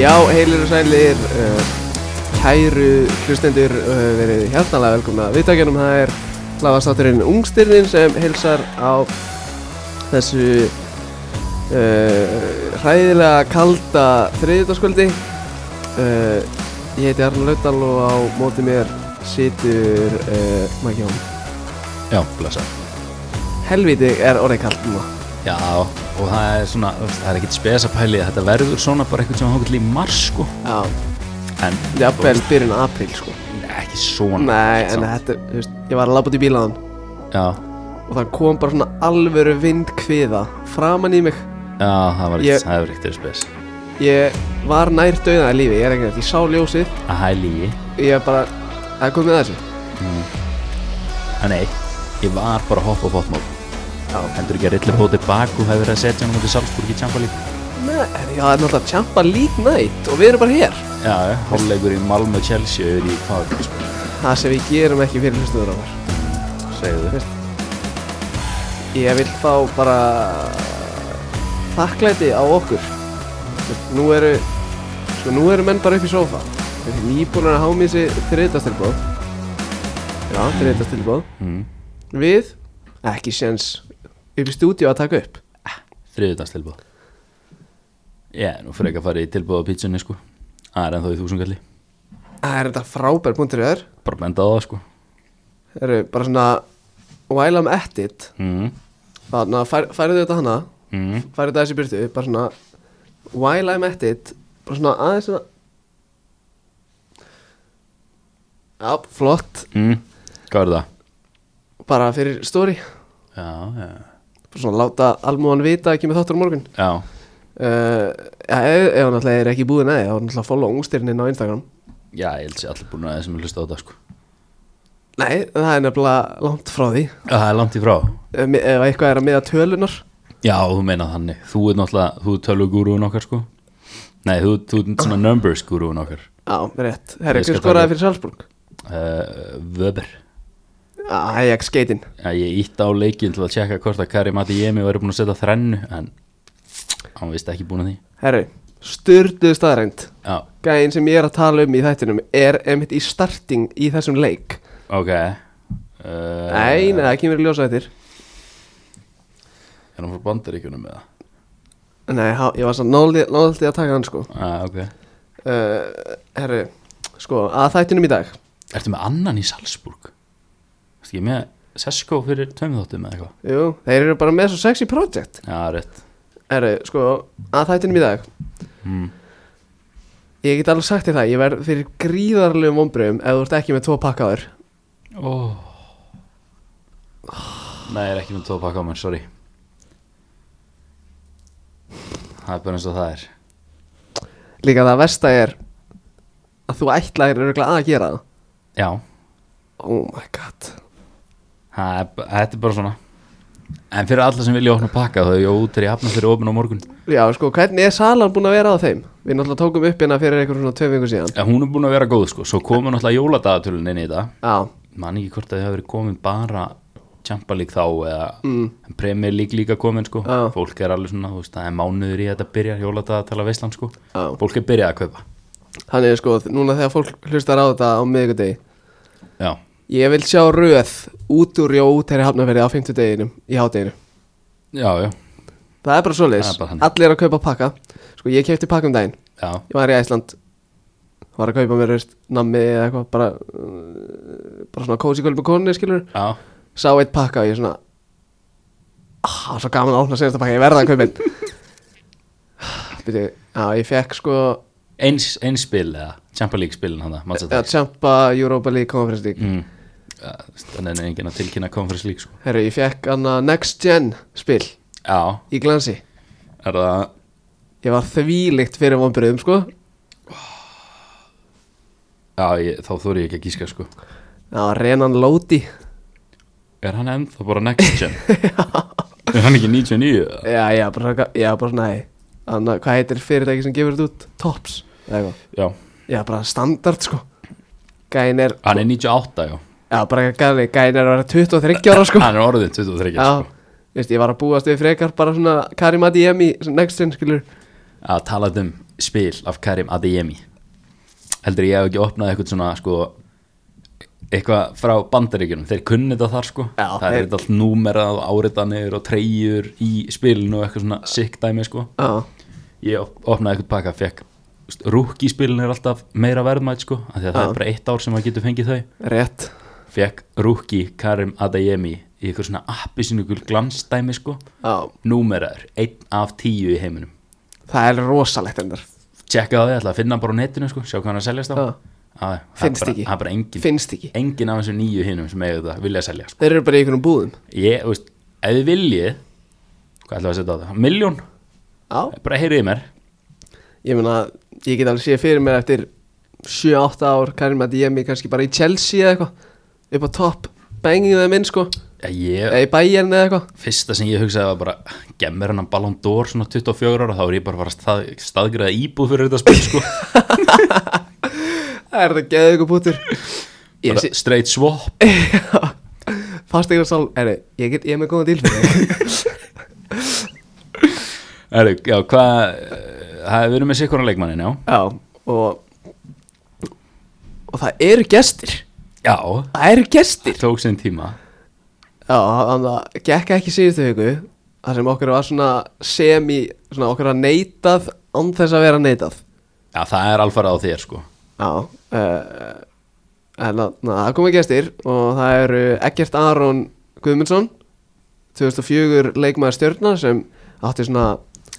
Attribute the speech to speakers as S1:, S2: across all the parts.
S1: Já, heilir og sælir, uh, kæru hlustendur, uh, verið hjartanlega velkomna að viðtakjanum. Það er hlaðastátturinn Ungstyrnin sem heilsar á þessu uh, hræðilega kalda þriðjutaskvöldi. Uh, ég heiti Arnur Laudal og á móti mér situr uh, Maggi Hóm.
S2: Já, blessa
S1: Helviti er orðið kalt núna.
S2: Já, og það er svona, þú veist, það er ekkit spes að pæli að þetta verður svona bara eitthvað sem hókall í mars sko
S1: Já,
S2: En,
S1: jafnvel byrjun apríl sko.
S2: Nei, ekki svona
S1: Nei,
S2: samt.
S1: en þetta, er, þú veist, ég var að labba út í bílaðan.
S2: Já,
S1: og það kom bara svona alvöru vindkviða framan í mig
S2: já, það var
S1: Ég-
S2: ekkit, það var ekkit spes
S1: ég var nær döðaði lífi, ég er ekkert ég sá ljósið,
S2: Það er lígi
S1: ég bara það kom með þessu
S2: En nei, ég var bara að hoppa á fótmál
S1: Já.
S2: Hendur ekki að rilla bóti baku hefur verið að setja hann út í Salzburg í Champa League
S1: Nei, já, það er náttúrulega Champa League Night og við erum bara hér
S2: Já, já, hálfleikur í Malmö Chelsea yfir í hvað sko,
S1: það sem við gerum ekki fyrir hlustuður á þar
S2: segðu
S1: Veist. ég vil fá bara þakklæti á okkur Veist, nú eru sko nú eru menn bara upp í sofa Þeir eru nýbúnar að hámi þessi þriðdastilbóð já, þriðdastilbóð
S2: mm.
S1: Við? Ekki séns upp í stúdíu að taka upp
S2: Þriðudagstilbóð Já, nú fyrir ekki að fara í tilbóð á pítsunni sko Það er ennþá í þúsungalli
S1: Það er þetta frábær punktur í þær
S2: Bara benda á það sko
S1: Það eru bara svona While I'm at it
S2: mm.
S1: Þannig að fær, færðu þetta hana
S2: Mm.
S1: Færðu þetta þessi byrtu Bara svona While I'm at it Bara svona aðeins svona Já, flott
S2: Mm. Hvað er það?
S1: Bara fyrir story
S2: Já, já
S1: Bara svona láta almúan vita ekki með þáttur á morgun
S2: Já,
S1: uh, ja, ef, ef hann alltaf er ekki búin að því Þá er hann alltaf að follow ungstyrnin á Instagram
S2: já ég held sér allir búin að þessum hlusta á þetta sko
S1: Nei, það er nefnilega langt frá því
S2: Já, það er langt í frá
S1: ef mi- ef eitthvað er að miða tölunar
S2: Já, þú meina þannig Þú er náttúrulega, þú er tölugúrúin okkar sko Nei, þú, þú er svona numbers gúrúin okkar
S1: Já, rétt, herri, hver
S2: Ég skal taka.
S1: skoraði fyrir Salzburg?
S2: uh, Vöber
S1: Ajax skeitin
S2: Já, ég ítt á leikinn til að tjekka hvort að Karim Adi Jemi væri búin að setja þrennu En hann vist ekki búin að því
S1: Herri, styrduð staðrænt
S2: Já,
S1: Gæinn sem ég er að tala um í þættinum er einmitt í starting í þessum leik
S2: ok uh,
S1: Nei, nei, það kemur í ljósa eftir
S2: Er hann frá bandaríkjunum með það?
S1: Nei, há, ég var svo náði að taka hann sko
S2: Já, Ah, ok
S1: uh, Herri, sko, að þættinum í dag
S2: Ertu með annan í Salzburg? Ertu ekki með Sesko fyrir tveimþóttum eða eitthvað?
S1: Jú, þeir eru bara með svo sexy project
S2: Já, rétt
S1: Herri, sko, að þættinum í dag
S2: mm.
S1: Ég get alveg sagt þér það, ég verð fyrir gríðarlegum vombriðum ef þú ert ekki með tvo pakkaður
S2: oh. Nei, ég er ekki með tvo pakka á mér, sorry Það er bara eins og það er
S1: Líka það versta er að þú ætlaðir örgulega að gera það
S2: Já,
S1: Oh my god
S2: það er, þetta er bara svona En fyrir alla sem vilja opna pakka þá er ég út til ég hafna fyrir opna á morgun
S1: Já sko, hvernig er salan búin að vera á þeim? Við náttúrulega tókum upp hérna fyrir einhverjum svona tvei vingur síðan
S2: En hún er búin að vera góð sko, svo komur náttúrulega jóladagatölunin inn í þetta
S1: Já,
S2: Man ekki hvort að þið hafa verið komin bara Champa League þá eða mm. Premier League líka komin sko
S1: Já.
S2: Fólk er alveg svona, þú veist, það er mánuður í að þetta byrjar jóladagatala veistlan sko
S1: já
S2: Fólk er byrjað að kaupa
S1: Þannig er sko, núna þegar fólk hlustar á þetta á miðvikudegi
S2: Já,
S1: Ég vil sjá röð út úr jó út þeirri hafnaferði á fimmtudeginum í hádeginu
S2: já, já,
S1: Það er bara svoleiðis,
S2: Það er bara þannig.
S1: allir eru að kaupa pakka Sko, ég kefti pakka um daginn
S2: já.
S1: Ég var í Æsland Var að kaupa mér, veist, nammi eða eitthvað Bara, uh, bara svona kósi kvöld með konni, skilur
S2: Já,
S1: sá eitt pakka og ég svona ah, svo gaman að opna senasta pakka, ég verða að kaupa einn Byrju, já, ég fekk sko
S2: eins, eins spil eða Champa League spilin hann
S1: já,
S2: það
S1: Champa Europa League Conference League
S2: mm. Já, þú veist, Þannig er enginn að tilkynna Conference League sko.
S1: Herru, ég fekk hana Next Gen spil
S2: Já,
S1: í glansi
S2: er það
S1: Ég var þvílíkt fyrir vonbröðum sko
S2: Já, ég, þá þóri ég ekki að gíska sko
S1: Það var Renan Lodi
S2: Er hann ennþá bara next gen? er hann ekki 99? eða?
S1: Já, já, bara, svona- já, bara svona nei. Anna, Hvað heitir fyrirtæki sem gefur þetta út? Tops eða eitthvað.
S2: Já,
S1: Já, bara standard sko Gæin er
S2: hann er 98 já
S1: Já, bara gæin gæin er að vera 23 ára sko
S2: Hann er orðin 23
S1: Já,
S2: sko
S1: veist, ég var að búast við frekar bara svona Karim Adeyemi, svona next gen, skilur
S2: Að tala um spil af Karim Adeyemi heldur ég hef ekki opnað eitthvað svona sko eitthvað frá bandaríkjunum, þeir kunni þetta þar sko
S1: Já,
S2: það er
S1: þeir-
S2: þetta allt númerað og áritanir og treyjur í spilinu og eitthvað svona sick dæmi sko
S1: Já,
S2: ég op- opnaði eitthvað pakka, fekk rúk í spilinu er alltaf meira verðmætt sko af því að það
S1: Já.
S2: er bara eitt ár sem maður getur fengið þau
S1: rétt
S2: fekk rúki Karim Adeyemi í eitthvað svona appi glansdæmi sko
S1: Já,
S2: númeraður, einn af tíu í heiminum
S1: það er rosalegt endur
S2: tjekka það, ég ætla að finna hann bara á netinu sko, sjá hvað hann er að seljast á
S1: Já.
S2: ah, það er
S1: Finnst
S2: bara,
S1: ekki.
S2: það er bara engin,
S1: Finnst ekki
S2: engin af þessum nýju hinnum sem eiga þetta vilja að selja sko.
S1: Þeir eru bara í einhvern búðum
S2: ég, þú veist, ef þið viljið hvað ætla að setja á það, miljón
S1: Já
S2: bara heyriði mér,
S1: Ég meina, ég get alveg séð fyrir mér eftir 7-8 ár Karim Adeyemi kannski bara í Chelsea eða eitthvað upp á topp, banging þeim inn sko
S2: Já, ég,
S1: eða í Bayern eða eitthvað
S2: fyrsta sem ég hugsaði var bara gemmer hennan Ballon d'Or svona 24 ára þá er ég bara að fara að stað, staðgræða íbúð fyrir þetta spil sko
S1: Það er það geðið ykkur pútur Ég
S2: bara
S1: sé,
S2: straight swap
S1: fast eitthvað sál Erri, ég get, ég er með góða díl fyrir þig.
S2: Heru, já, hvað, eh, það hefur verið með sikkurna leikmannin, já
S1: Já, og og það eru gestir
S2: Já,
S1: Það eru gestir
S2: það tók sinn tíma
S1: Já, þannig að gekk ekki síðustu hugu þar sem okkur var svona semi svona okkur að neitað án þess að vera neitað
S2: Já, það er alfarað á þér, sko
S1: Já uh, En að- na, það komið gestir og það eru Eggert Aron Guðmundsson 2004 leikmaður stjörnar sem átti svona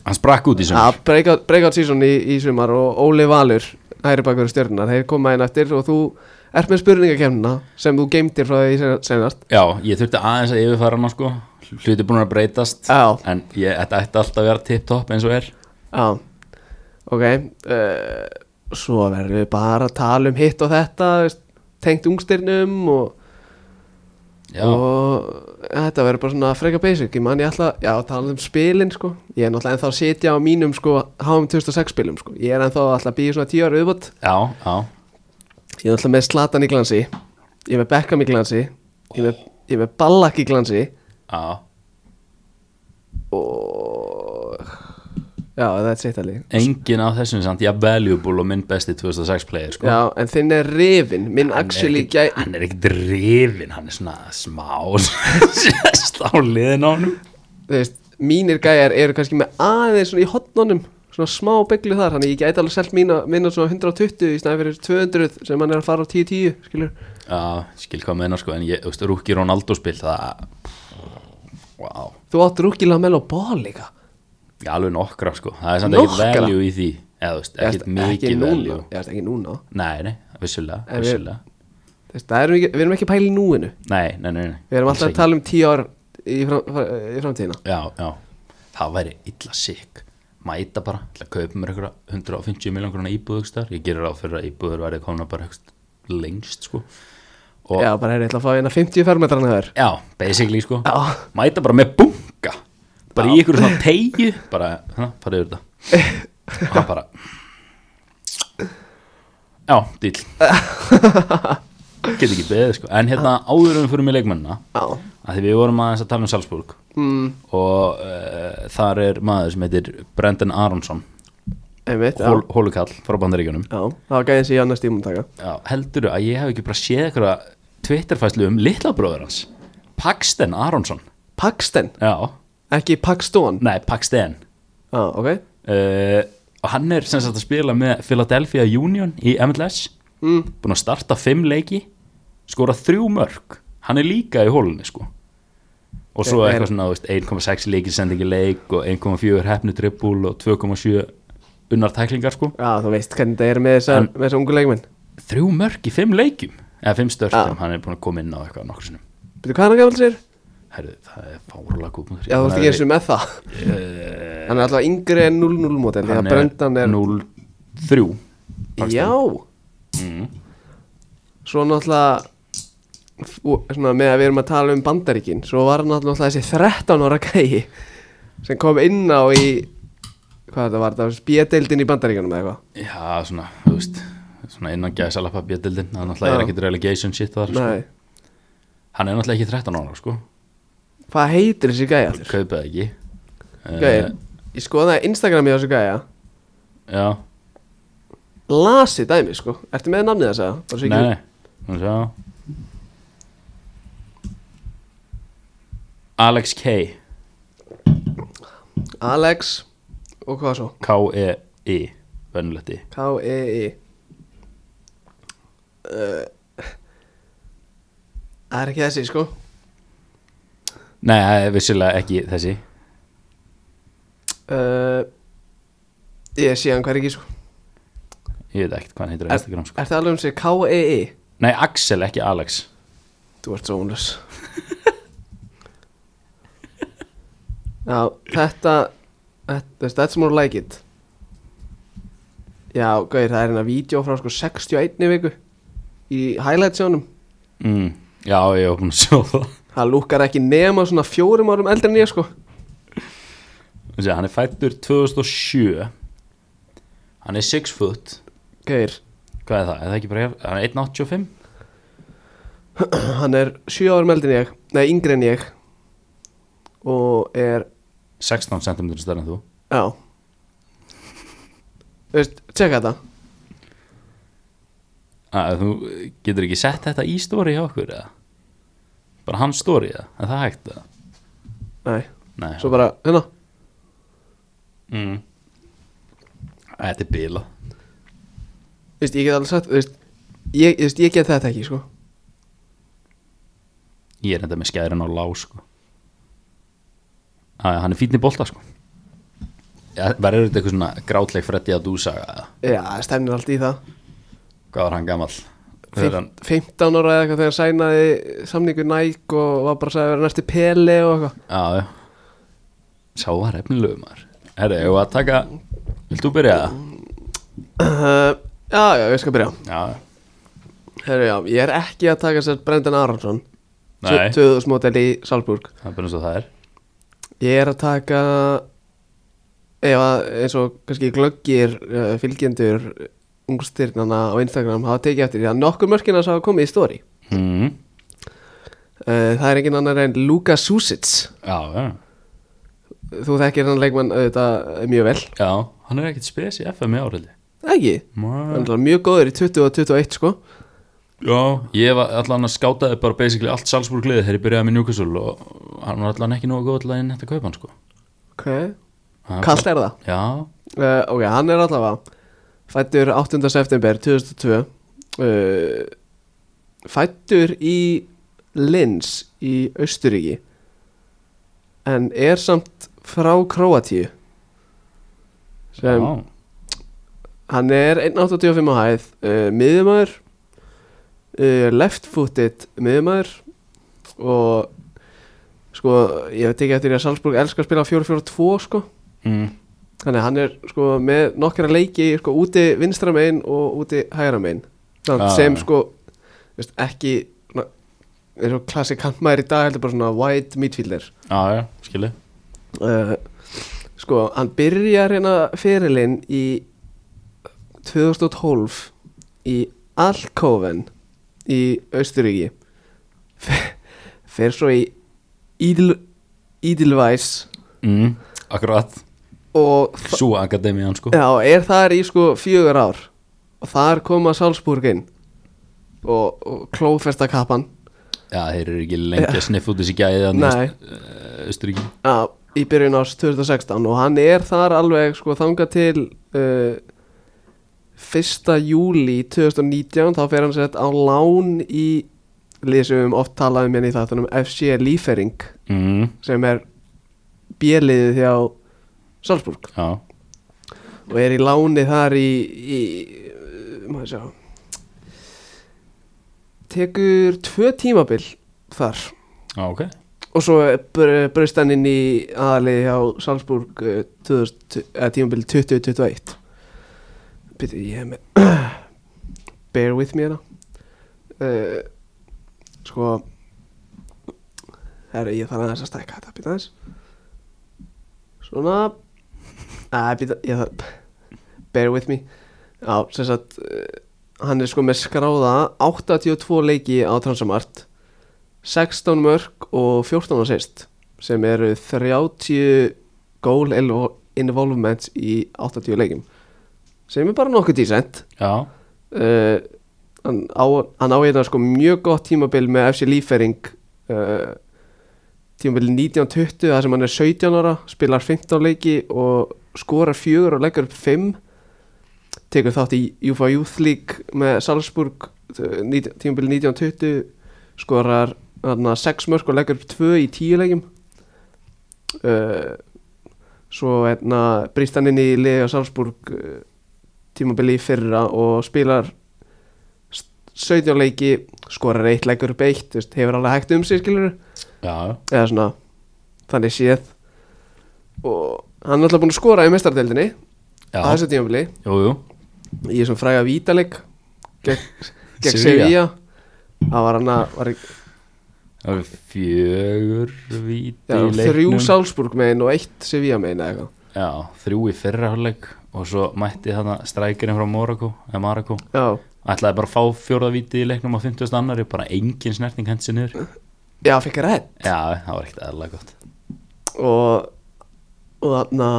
S2: Hann sprakk út í sem
S1: að breakout, breakout season í, í sumar og Óli Valur hægri bakur stjörnar, þeir koma inn eftir og þú ert með spurningakemna sem þú geimtir frá því sen- senast
S2: Já, ég þurfti aðeins að yfirfara hana, sko Hluti búin að breytast
S1: Já.
S2: En ég, þetta ætti alltaf að vera tip-top eins og er
S1: Já, ok uh, Svo verðum við bara að tala um hitt og þetta veist, tengt ungstirnum og,
S2: Já,
S1: og eh, þetta verður bara svona freka basic ég man ég ætla, já, tala um spilin sko. ég er náttúrulega ennþá að sitja á mínum sko, HM 2006 spilum, sko. ég er ennþá að ætla að býja svona 10 ára viðbót
S2: já, já
S1: ég er náttúrulega með Slatan í glansi ég er með Beckham í glansi ég er með, ég er með Ballack í glansi
S2: Já,
S1: og já, það er sitt alveg
S2: engin af þessum samt Ég valuable og minn besti 2006 player, sko
S1: Já, en þinn er rifin, minn
S2: Hann er
S1: actually
S2: ekki-
S1: gæ...
S2: Hann er ekki drifin, hann er svona smá Sérst á liðin á hann
S1: þú veist, mínir gæjar eru kannski með aðeins svona í hotnunum svona smá bygglu þar, þannig ég gæti alveg selt mína, minna svona 120 í snæði fyrir 200 sem hann er að fara á 10-10, skilur
S2: Já, skil hvað meina sko En ég, þú veist, Rúki Ronaldo spil það Wow
S1: þú átt rúkilega með á ból líka
S2: Já, alveg nokkra sko Það er samt ekki
S1: Nokkra?
S2: value í því Eða, þú veist, ekkert
S1: ekki
S2: mikið
S1: núna,
S2: value
S1: ég veist ekki núna
S2: Nei, nei, vissulega,
S1: En við-
S2: vissulega
S1: Þú veist, það erum ekki, við erum ekki að pæla í núinu
S2: Nei, nei, nei, nei
S1: við erum alltaf
S2: alls
S1: að tala um 10 ár í, fram, í framtíðina
S2: ekki. Já, já Það væri illa sick Mæta bara, ætla að kaupa mér einhverja 150 miljón grunna íbúðugstar Ég gerir á fyrir að íbúður væri komna bara einhverst lengst sko Og,
S1: já, bara er eitthvað að fá eina 50 fermetrana þar
S2: já, basically sko
S1: Já.
S2: Mæta bara með bunga Bara í einhverju svona tegju Bara, hana, farið yfir þetta Og hann bara Já, dýl Get ekki beðið sko En hérna áður um fyrir mig leikmennina
S1: já,
S2: að því við vorum aðeins að tala um Salzburg mm. og uh, þar er maður sem heitir Brendan Aronsson
S1: einmitt, já,
S2: hól, hólukall frá bandaríkjunum
S1: já það var gæðin sem ég annars tímum taka
S2: Já, heldurðu að ég hef ekki bara séð eitthvað Twitterfæslu um litla bróður hans Paxton Aronsson
S1: Paxton,
S2: Já,
S1: ekki Paxton
S2: nei Paxton
S1: já, ok,
S2: uh, og hann er sem sagt að spila með Philadelphia Union í MLS mm. búin að starta fimm leiki skora þrjú mörg hann er líka í hólunni sko og svo
S1: Er- er-
S2: eitthvað svona þú veist, 1,6 leiki sendingi leik og 1,4 hefnu dribbul og 2,7 unnar tæklingar sko
S1: já, þú veist hvernig þetta er með þessar, með þessar ungu leikmenn
S2: þrjú mörg í fimm leikjum eða fimm störtum,
S1: Já.
S2: hann er búin að koma inn á eitthvað nokkur sinnum
S1: Býtu hvað er hann gammal sér?
S2: Herðu, það er fárulega góð punktur.
S1: Já, þú veist ekki eins og með það
S2: Eh,
S1: Hann er alltaf yngri en 0-0 mótel Þegar brendan er,
S2: 0-3 Paxton.
S1: Já
S2: Mm.
S1: Svo náttúrulega ú- svona, Með að við erum að tala um bandaríkin Svo var hann náttúrulega þessi 13 ára gæi Sem kom inn á í Hvað þetta var, það var spjedeildin í bandaríkanum eða eitthvað
S2: Já, svona, þú veist svona innan gæsalappa bjöldildin það náttúrulega er
S1: Já.
S2: ekkit relegation shit þar sko.
S1: Nei,
S2: hann er náttúrulega ekki 13 ára sko.
S1: hvað heitir þessi gæi allir?
S2: kaupið ekki Eh,
S1: Gæi, ég skoðaði Instagram í þessu gæja
S2: já,
S1: lasi dæmi sko Ertu með namnið þess að? Bara svo ekki-
S2: Nei, nú sjá Alex K
S1: Alex og hvað svo?
S2: K-E-I Vennulegt í
S1: K-E-I Uh, Það er ekki þessi sko
S2: Nei, það er vissilega ekki þessi
S1: uh, Ég sé hann hver ekki sko
S2: Ég veit ekkert hvað hann heitir á
S1: Er,
S2: Instagram sko.
S1: er það alveg um sig K-E-I?
S2: Nei, Axel, ekki Alex
S1: Þú ert svo unlös Já, þetta Þetta, that's more like it Já, gauðir, það er hérna vídeo frá sko 61 viku Í highlights sjónum
S2: mm, Já, ég var búin að sjá það
S1: Það lúkar ekki nema svona fjórum árum eldri en ég sko
S2: Þessi, Hann er fættur 2007 Hann er 6 foot
S1: Gauðir,
S2: Hvað er það? Er það ekki bara Hann er 1.85
S1: hann er 7 árum eldri en ég Nei, yngri en ég Og er,
S2: 16 cm stærn en þú
S1: já Þú veist, tjekka þetta
S2: að þú getur ekki sett þetta í stóri hjá okkur eða bara hans stóri eða, er það hægt eða
S1: Nei,
S2: nei,
S1: svo bara, hérna
S2: mm. þetta er bila
S1: Þú veist, ég get alveg sagt, þú veist Ég, þú veist, ég get þetta ekki, sko
S2: ég er enda með skærin á lá sko að hann er fínn í bolta sko ja, verður þetta eitthvað svona grátleg freddi að dúsaga eða
S1: Já, það stefnir allt í það
S2: hvað var hann gamall Þegar hann,
S1: Fim- 15 ára eða eitthvað þegar hann sænaði samningu Nike og var bara að segja að vera næsti peli og eitthvað
S2: á, já. sá var efnilegu maður herri, ég var að taka vilt þú byrja það?
S1: uh, Já, já, ég skal byrja
S2: já, já.
S1: Heru, já, Ég er ekki að taka sér Brendan Aronsson
S2: Nei.
S1: 2000 mótel í Salzburg
S2: það er bara eins og það er
S1: Ég er að taka ef að eins og kannski glöggir uh, fylgjendur ungstyrnana á Instagram hafa tekið eftir því að nokkur mörkina hafa komið í stóri
S2: mm.
S1: uh, Það er engin annar en Luka Susits
S2: já, já
S1: Þú þekkir hann leikmann auðvitað mjög vel
S2: Já, hann er ekkert spes í FM í áriði
S1: Ekki, hann er
S2: Já,
S1: náttúrulega mjög góður í 20 og 21 sko
S2: ég var allan að skátaði bara basically allt Salzburg liðið þegar ég byrjaði með Newcastle og hann var allan ekki nógu góð allan inn þetta kaupa hann sko
S1: Ok,
S2: Hann-
S1: kallt er það
S2: Já,
S1: uh, Ok, hann er allavega Fættur 8. september 2002 uh, Fættur í Linz í Austuríki En er samt frá Króatíu Sem
S2: já,
S1: Hann er 1.85 á hæð uh, miðumæður uh, left footed miðumæður og sko, ég hef tekið eftir því að Salzburg elskar að spila 4-4-2 sko
S2: mm,
S1: þannig að hann er sko með nokkra leiki sko úti vinstra megin og úti hægra megin Samt
S2: Ah.
S1: sem sko veist, ekki svona, eins og klassikant maður í dag heldur bara svona wide midfielder
S2: já, já, skilji
S1: uh, sko, hann byrjar hérna fyrirlinn í 2012 í Alkoven í Austuríki fer svo í Idil, Idilvæs
S2: mm, Akkurat,
S1: og þa-
S2: svo akademiðan sko
S1: já, er þar í sko fjögur ár og þar koma Salzburg inn og, og klófesta kappan
S2: Já, þeir eru ekki lengi að sniffa út þessi gæði
S1: Nei.
S2: Östuríki
S1: Já, í byrjun árs 2016 og hann er þar alveg sko þanga til uh, 1. júli 2019 þá fer hann sett á lán í lýsum oft talað um hérna í þáttunum FC Lífering
S2: mm,
S1: sem er bjeliðið hjá Salzburg
S2: Já,
S1: og er í láni þar í, í uh, maður sjá tekur tvö tímabil þar
S2: já, ok
S1: Og svo br- braust hann inn í aðalegi hjá Salzburg eh, 2000 eða tímabili 2021 Býtu, ég hef með Bear with me hérna uh, Sko Herra, ég þarf aðeins að stækka þetta Býtu aðeins Svona Æ, býtu, ég þarf Bear with me Já, sem sagt uh, Hann er sko með skráða 82 leiki á Transamart 16 mörg og 14 assist sem eru 30 goal involvements í 80 leikim sem er bara nokkuð dísent
S2: já,
S1: uh, hann, á, hann á hérna sko mjög gott tímabil með FC Lífering uh, tímabil 1920 þar sem hann er 17 ára spilar 15 leiki og skorar fjögur og leggur upp 5 tekur þátt í UFA Youth League með Salzburg uh, nít- tímabil 1920 skorar hann 6 mörg og leggur upp 2 í 10 leikjum uh, svo hérna brýst hann inn í liði á Salzburg uh, tímabili í fyrra og spilar s- 17 leiki skorar eitt leikur upp eitt þú veist, hefur alveg hægt um sig skilur
S2: já,
S1: eða svona þannig séð og hann er alltaf búin að skora í mestardeldinni á
S2: já,
S1: þessu tímabili
S2: jú, jú
S1: í þessum fræga vítaleg gegn, gegn
S2: Sevilla.
S1: Sevilla það var hann að var, já,
S2: það eru fjögur víti í
S1: þrjú
S2: leiknum.
S1: Salzburg megin og eitt Sevilla megin eða
S2: já, þrjú í fyrra hálfleik og svo mætti þarna strækirinn frá Morakó eða Marakó,
S1: eitthvað já,
S2: ætlaði bara að fá fjóraða víti í leiknum á 50. annari, bara engin snerting hendi sér niður,
S1: já, fekk að redd
S2: já, það var ekkert eðla gott
S1: og og þarna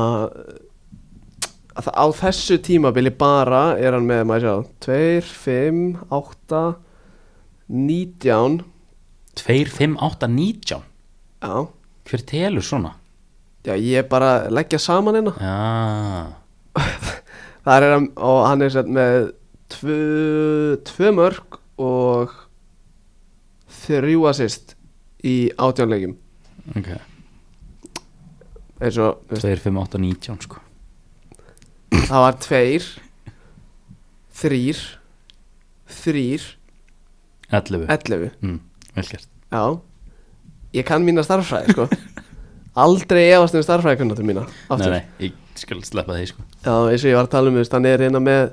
S1: að það- á þessu tímabili bara er hann með, maður sjá 2, 5, 8 19
S2: 2, 5, 8, 19
S1: já,
S2: hver telur svona?
S1: já ég er bara að leggja saman hérna
S2: já,
S1: þar er hann og hann er sett með tvö, tvö mörg og þrjú assist í átjánleikjum
S2: ok
S1: eins og þú veist,
S2: 2, 5, 8, 19 sko
S1: það var tveir þrýr þrýr,
S2: 11,
S1: ellefu
S2: mm, vel gert
S1: Já, ég kann mína starffræði sko Aldrei efast um starffræðikunnáttur mína
S2: Nei,
S1: aftur.
S2: nei, ég skal sleppa því sko
S1: Já, eins og ég var að tala um þú veist, hann er hérna með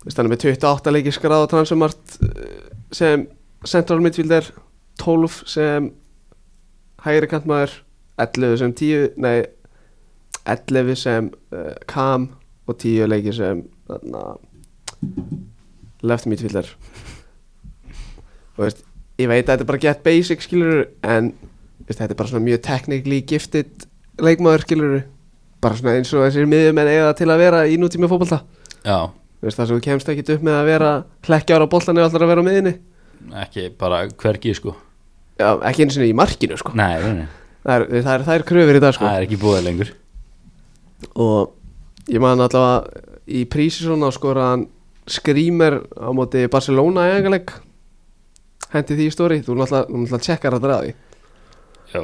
S1: þú veist, hann er með 28 leiki skráð á transumart eh, sem central midfielder 12 sem hægri kantmaður 11 sem 10 nei, 11 sem uh, kam og 10 leiki sem þarna, left midfielder og veist, ég veit að þetta er bara get basic skilur en veist, þetta er bara svona mjög technically gifted leikmaður skilur bara svona eins og þessir miðjumenn eiga til að vera í nútími fótbolta
S2: Já,
S1: Þú veist, það sem þú kemst ekkit upp með að vera hlekkjára á boltan eða allar að vera á miðinni
S2: ekki bara hvergi sko
S1: Já, ekki einu sinni í markinu sko
S2: Nei, nei, nei,
S1: það er, það er, það er kröfur í dag sko
S2: það er ekki búið lengur
S1: og ég man allavega í prísi svona skora hann skrýmer á móti Barcelona eiginleik hendi því í stóri, þú náttúrulega, þú náttúrulega tjekkar að draði
S2: Já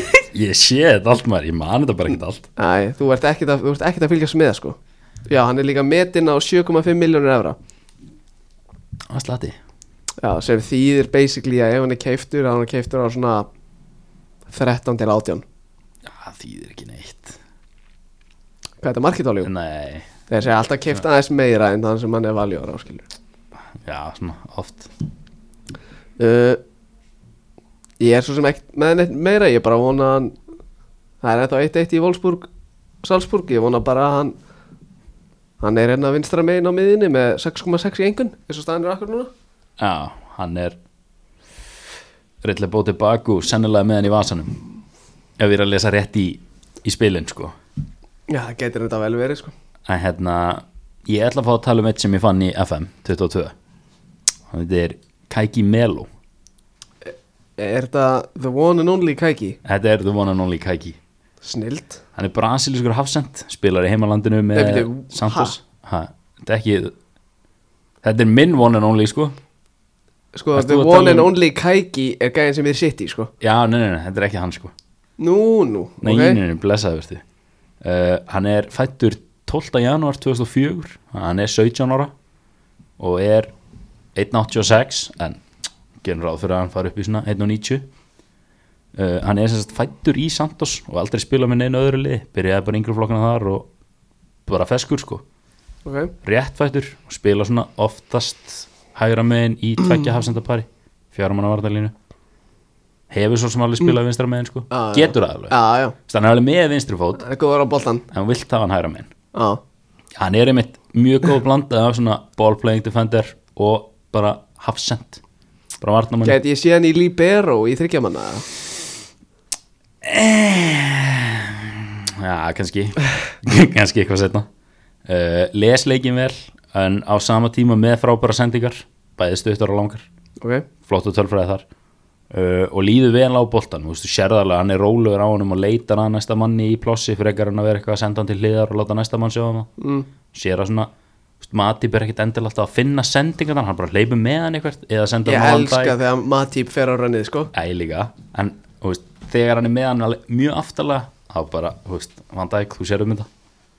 S2: Ég sé þetta allt maður, ég man þetta bara ekkert allt
S1: Æ, þú ert ekkit að, þú ert ekkit að fylgjast með sko Já, hann er líka metinn á 7,5 miljónur evra
S2: Það slati
S1: Já, sem þýðir basically að ef hann er keiftur að hann er keiftur á svona 13 til 18
S2: Já, það þýðir ekki neitt
S1: Hvað er þetta markitáljum?
S2: Nei,
S1: Þeir segja alltaf keift aðeins meira en þann sem hann er valjóra á skilur
S2: já, svona oft
S1: uh, Ég er svo sem ekkert með neitt meira Ég bara vona að hann Það er ennþá 1-1 í Wolfsburg Salzburg, ég vona bara að hann Hann er hérna vinstra megin á miðinni með 6,6 í engun eins og staðan er akkur núna
S2: Já, hann er Rillir bóti baku, sennilega með hann í vasanum Ef við erum að lesa rétt í, í spilin sko
S1: Já, það getur þetta vel verið sko
S2: að hérna ég ætla að fá að tala um eitt sem ég fann í FM 22 hann þetta er Kaiki Melo
S1: Er þetta the one and only Kaiki?
S2: þetta er the one and only Kaiki
S1: Snild
S2: hann er brasilískur hafsend spilar í heimalandinu með
S1: Nei, bíddu,
S2: Santos ha? þetta er ekki þetta er minn one and only sko
S1: Sko,
S2: Ert
S1: the
S2: þú að
S1: one
S2: tala
S1: and
S2: um-
S1: only Kaiki er gæðin sem er sitt í sko
S2: já, nei, nei, nei, þetta er ekki hann sko
S1: Nú, nú,
S2: nei,
S1: ok
S2: okay. nei, nei, blessaði verði uh, hann er fættur 12. janúar 2004 hann er 17 ára og er 1.86 en gerum ráð fyrir að hann fari upp í svona 1.90 uh, hann er sem sagt fættur í Santos og aldrei spila með neina öðru lið byrjaði bara yngri flokkana þar og bara feskur sko
S1: Ok,
S2: rétt fættur og spila svona oftast hægra megin í tveggja hafsendapari fjármanna vartalínu hefur svo sem alveg spilað vinstra megin sko
S1: Mm. Já, já.
S2: getur það alveg
S1: já, já,
S2: Þannig að hann er alveg með vinstri fót
S1: það er góður á boltan
S2: en hann vilt hafa hann hægra megin
S1: Já,
S2: Hann er einmitt mjög góð blandað af svona ballplaying defender og bara hafsend bara varnamann
S1: gæti ég síðan í Libero í þryggjamanna eða?
S2: Já, kannski kannski eitthvað setna uh, les leikin vel en á sama tíma með frábæra sendingar bæði stuttar og langar
S1: ok,
S2: flott og tölfræði þar uh, og líður vel á boltan þú veist, þú sérð alveg að hann er rólegur á honum og leitar að næsta manni í plossi frekar en að vera eitthvað að senda hann til hliðar og láta næsta mann sjá um það
S1: mm,
S2: sér að svona þú veist, Matip er ekkit endilega alltaf að finna sendingarnar hann bara hleypur með hann eitthvað eða senda
S1: ég
S2: hann á Van Dijk.
S1: elska þegar Matip fer á rönnið sko
S2: Æ, líka, en þú veist, þegar hann er með hann alveg mjög aftalega þá bara, þú veist, Van Dijk, þú sér um þetta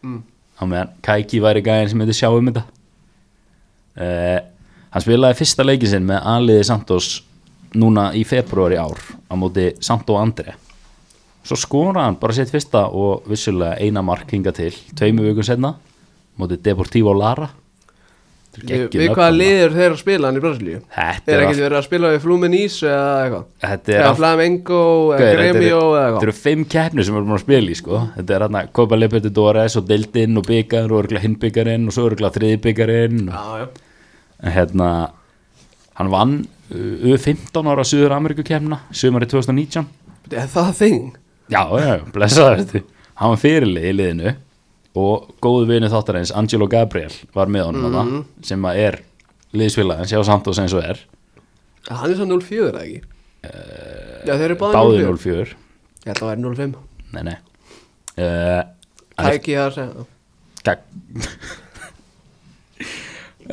S1: Mm.
S2: á meðan Kæki væri gæðin sem myndi sjá um þetta uh, hann spilaði fyrsta leikin sinn með anliði Santos núna í februari ár á móti Santo Andre svo skoraði hann bara sitt fyrsta og vissulega eina mark hinga til tveimu vikum senna móti Deportivo Lara Þetta er
S1: við,
S2: geggjuð
S1: við
S2: nöfn
S1: hvaða
S2: þarna.
S1: liður þeir eru að spila hann í Brasilíu
S2: þetta
S1: þeir
S2: er
S1: ekkert
S2: allt
S1: verið að spila við Fluminís eða eitthvað
S2: þetta er
S1: eða
S2: allt
S1: Flamengo eða
S2: Gauður, þetta
S1: Gremio
S2: eru-
S1: eða
S2: þetta
S1: eitthvað
S2: eru fimm keppnir sem við erum búin að spila í sko. þetta er hérna Copa Libertadores og Deildin og Byggarinn og örgulega hinbyggarinn og svo örgulega þriðbyggarinn
S1: já, já,
S2: en hérna hann vann uh, 15 ára Suður Ameríku keppna sumari 2019
S1: Bíddu, er það þing
S2: já, já, blessaður þetta hann var fyrirlið í liðinu og góðu vinu þáttarins Angelo Gabriel var með honum mm
S1: Mhm.
S2: sem að er liðsfélagin, sjá samt og sem svo er
S1: hann er svo 0-4 eða ekki
S2: Eh,
S1: já, þeir eru
S2: báði
S1: báðið 0-4
S2: 0-4
S1: ég held að það væri 0-5
S2: nei, nei uh, hann er
S1: tæki það að segja
S2: Takk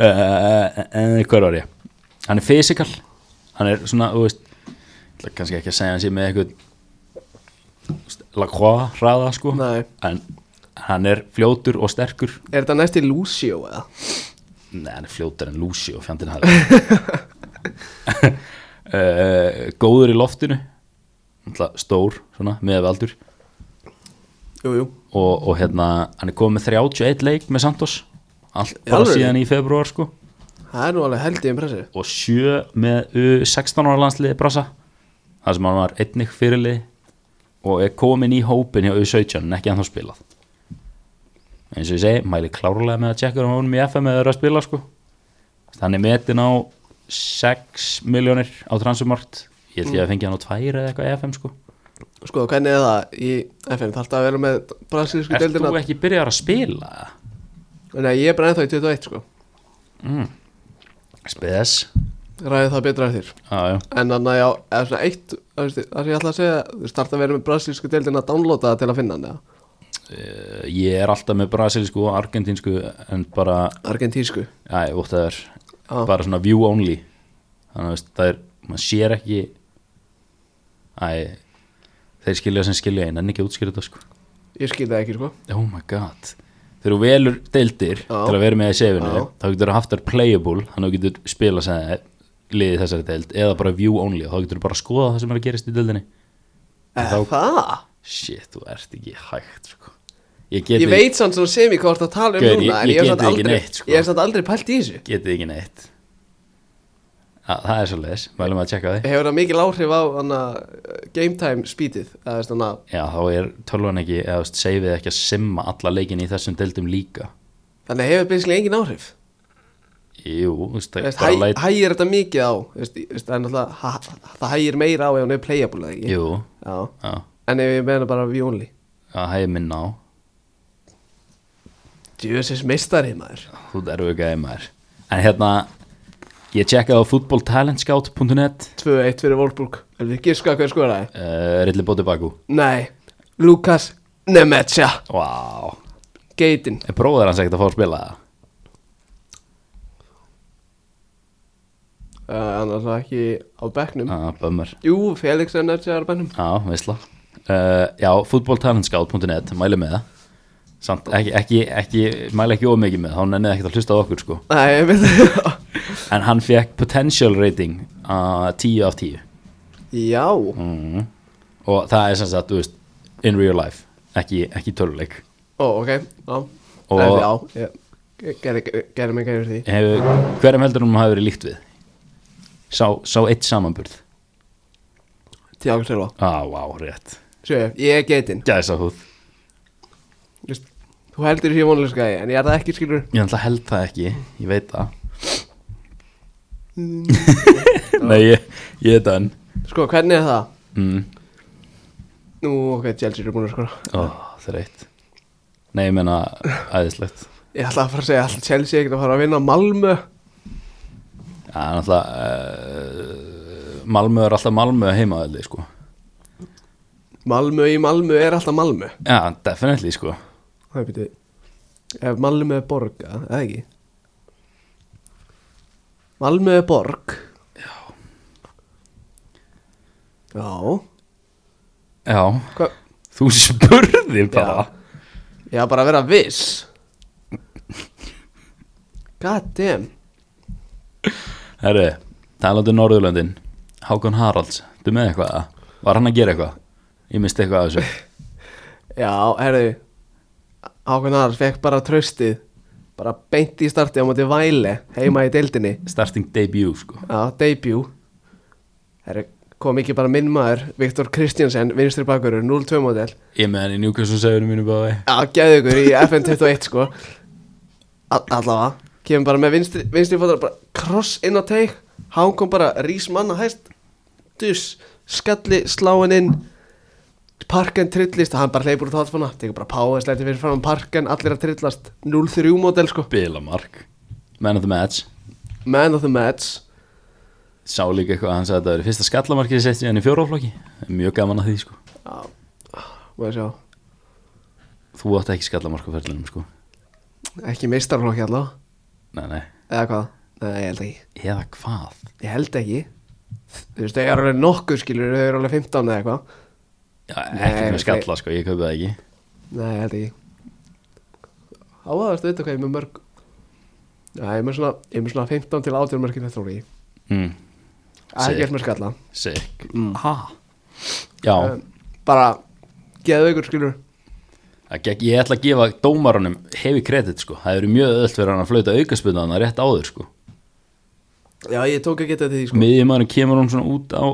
S2: uh, En hvað var ég? Hann er fysikal Hann er svona, þú veist ég ætla kannski ekki að segja hann sé með eitthvað Lacroix hraða sko
S1: Nei.
S2: En hann er fljótur og sterkur
S1: er þetta næst í Lucio eða
S2: Nei, hann er fljótur en Lucy og fjandinn hafði uh, Góður í loftinu Náttúrulega Stór, svona, með veldur
S1: jú, jú
S2: og, og hérna, hann er komið með 31 leik með Santos Allt bara
S1: alvöru?
S2: síðan í februar sko
S1: það er nú alveg heldig impressið
S2: og sjö með U16 ára landsliði Brasa þar sem hann var einnig fyrirlið og er komin í hópin hjá U17 en ekki ennþá spilað eins og ég segi, mæli klárlega með að tjekka um honum í FM eða eru að spila sko þannig metin á 6 miljónir á transumart ég held ég að fengi hann á 2 eða eitthvað í FM sko
S1: Sko, hvernig er það í FM? Þarf það að vera með brasilísku
S2: Ert
S1: deildina?
S2: þú ekki byrjar að spila?
S1: Nei, ég er bara ennþá í 21, sko.
S2: Spes
S1: Ræði það betra eftir.
S2: ah,
S1: En þannig að, já, eða svona eitt, það veist, það sem ég ætla að segja, þú starta að vera með brasilísku deildina að downloada það til að finna hann, eða?
S2: Eh, Ég er alltaf með brasilisku og argentínsku en bara
S1: Argentísku.
S2: Æ, óttæður
S1: Já.
S2: Bara svona view only Þannig að veist, það er, maður sér ekki Æ Þeir skilja sem skilja einn en ekki að útskýra þetta sko
S1: Ég skil það ekki, sko.
S2: Oh my god Þegar þú velur deildir
S1: Já.
S2: til að vera með í sefinu
S1: Já.
S2: þá getur þú haft þær playable þannig að þú getur spila sem liðið þessari deild eða bara view only og þá getur þú bara að skoða það sem er að gerist í deildinni
S1: Eh,
S2: Þá-
S1: það?
S2: Shit, þú ert ekki hægt sko. Ég get
S1: Ég veit samt svona sem ég hvort að tala um
S2: Gaur, ég-
S1: núna, en ég,
S2: ég
S1: hef
S2: get
S1: samt
S2: ekki
S1: aldrei,
S2: neitt, sko.
S1: ég hef samt aldrei pælt í þessu.
S2: getið ekki neitt Að, Það er svo leis, mælum að tjekka því
S1: Hefur það mikil áhrif á hana, game time speedið, eða veist hann að,
S2: Já, þá er tölvan ekki, eða þú veist, seifið ekki að simma alla leikin í þessum deildum líka.
S1: þannig hefur basically engin áhrif.
S2: Jú, þú veist, það er
S1: Veist,
S2: bara
S1: hæ,
S2: læt,
S1: hægir þetta mikið á veist, í- veist, það er náttúrulega, ha, ha- það hægir meira á ef hún er playable eða ekki
S2: jú,
S1: Já.
S2: já,
S1: en ef ég meina bara view only
S2: það hefði minn á,
S1: djöðsins meistari maður
S2: þú erum ekki aðeins maður. En hérna, ég tjekkaði á footballtalentscout.net,
S1: 2-1 fyrir Wolfsburg en við giska hver skoraði
S2: uh, Rilli Bótibakú.
S1: nei, Lukas Nemetja
S2: Vá,
S1: geitin
S2: er bróður hans ekkert að fá að spila það?
S1: uh, annars var ekki á bekknum
S2: Já, bömmur.
S1: jú, Felix Nemetja er á bekknum
S2: Já, veistla. Uh, já, footballtalentscout.net, mæli með það. Samt, ekki, ekki, ekki, mæli ekki ómikið með, það, þá nennið ekkert að hlusta á okkur, sko.
S1: nei, ég veit
S2: En hann fekk potential rating uh, 10 af 10
S1: já,
S2: mm. Og það er sem sagt, þú veist, in real life Ekki, ekki töluleik
S1: ó, ok já,
S2: Og-
S1: Nei, já ég, ég gerði gerði mig gæður því
S2: Hefur, Hverjum heldur hann hafi verið líkt við? Sá, sá eitt samanburð
S1: Tiago Silva,
S2: Á, ah, vá, wow, rétt
S1: sjö, ég er geitin
S2: Gæsa húð
S1: Vist, þú heldur því vonlega skæði en ég er það ekki skilur
S2: Ég ætla held það ekki, ég veit það Nei, ég, ég er dan
S1: sko hvernig er það
S2: mm.
S1: nú ok Chelsea eru sko. búin að skora
S2: Ó, það er eitt Nei, ég meina æðislegt
S1: Ég ætla að fara að segja alltaf Chelsea ekkert að fara að vinna Malmö
S2: Já, náttúrulega uh, Malmö er alltaf Malmö heimaðalli sko.
S1: Malmö í Malmö er alltaf Malmö
S2: Já, definitely sko.
S1: Það er byrju Ef Malmö er borg, eða eða ekki Malmö er borg Já Já
S2: Já,
S1: Hva?
S2: þú spurði bara
S1: Ég var bara að vera viss God damn
S2: Herru, talandi um Norðurlöndin Hákon Haralds, þú með eitthvað eða? Var hann að gera eitthvað? Ég misti eitthvað af þessu
S1: Já, herðu Hákon Haralds fekk bara tröstið Bara beint í starti á móti væli Heima í deildinni
S2: Starting debut sko
S1: Já, debut Herru, kom ekki bara minn maður Viktor Kristjansen, vinstri bakurur 0-2 model
S2: Ég með hann í Newcastle segunum mínu báði
S1: Já, gæðu ykkur í FN21 sko All- Allavega Kemur bara með vinstri, vinstri fótar bara Kross inn á teik Hán kom bara rís manna hæst Dus, skalli, sláin inn Parken trillist Hann bara hleypur út hálfana Tekur bara páa, slæti fyrir fram parken Allir að trillast 0-3 mótel sko
S2: Bilamark Man of the match
S1: Man of the match
S2: Sá líka eitthvað að hann sagði að þetta verið fyrsta skallamarkið sett síðan í fjóraflokki Mjög gaman að því sko
S1: Já, maður sjá
S2: Þú átt ekki skallamark á ferlinum sko
S1: Ekki meistarflokki allavega
S2: Nei, nei
S1: Eða hvað? Nei, ég held ekki
S2: Eða hvað?
S1: Ég held ekki Þú veist, þau eru alveg nokkuð skilur Þau eru alveg 15 eða eitthvað
S2: Já,
S1: Nei,
S2: ekki með skalla sko, ég kaupið það ekki
S1: Nei, ég held ekki Á að veistu vita hvað ég er með mörg Já, ég er með svona, ég er með svona 15 til 18 mörgin þetta úr í
S2: mm.
S1: Ekki eftir með skalla
S2: Sick Ha? Já
S1: Mm. um, Bara, geðu ykkur skilur
S2: Það gekk, ég ætla að gefa dómarunum hefi kredit sko, það eru mjög öll fyrir hann að flauta aukaspunnaðana rétt áður sko
S1: Já, ég tók að geta þetta því sko
S2: miðjumæðurinn kemur hann svona út á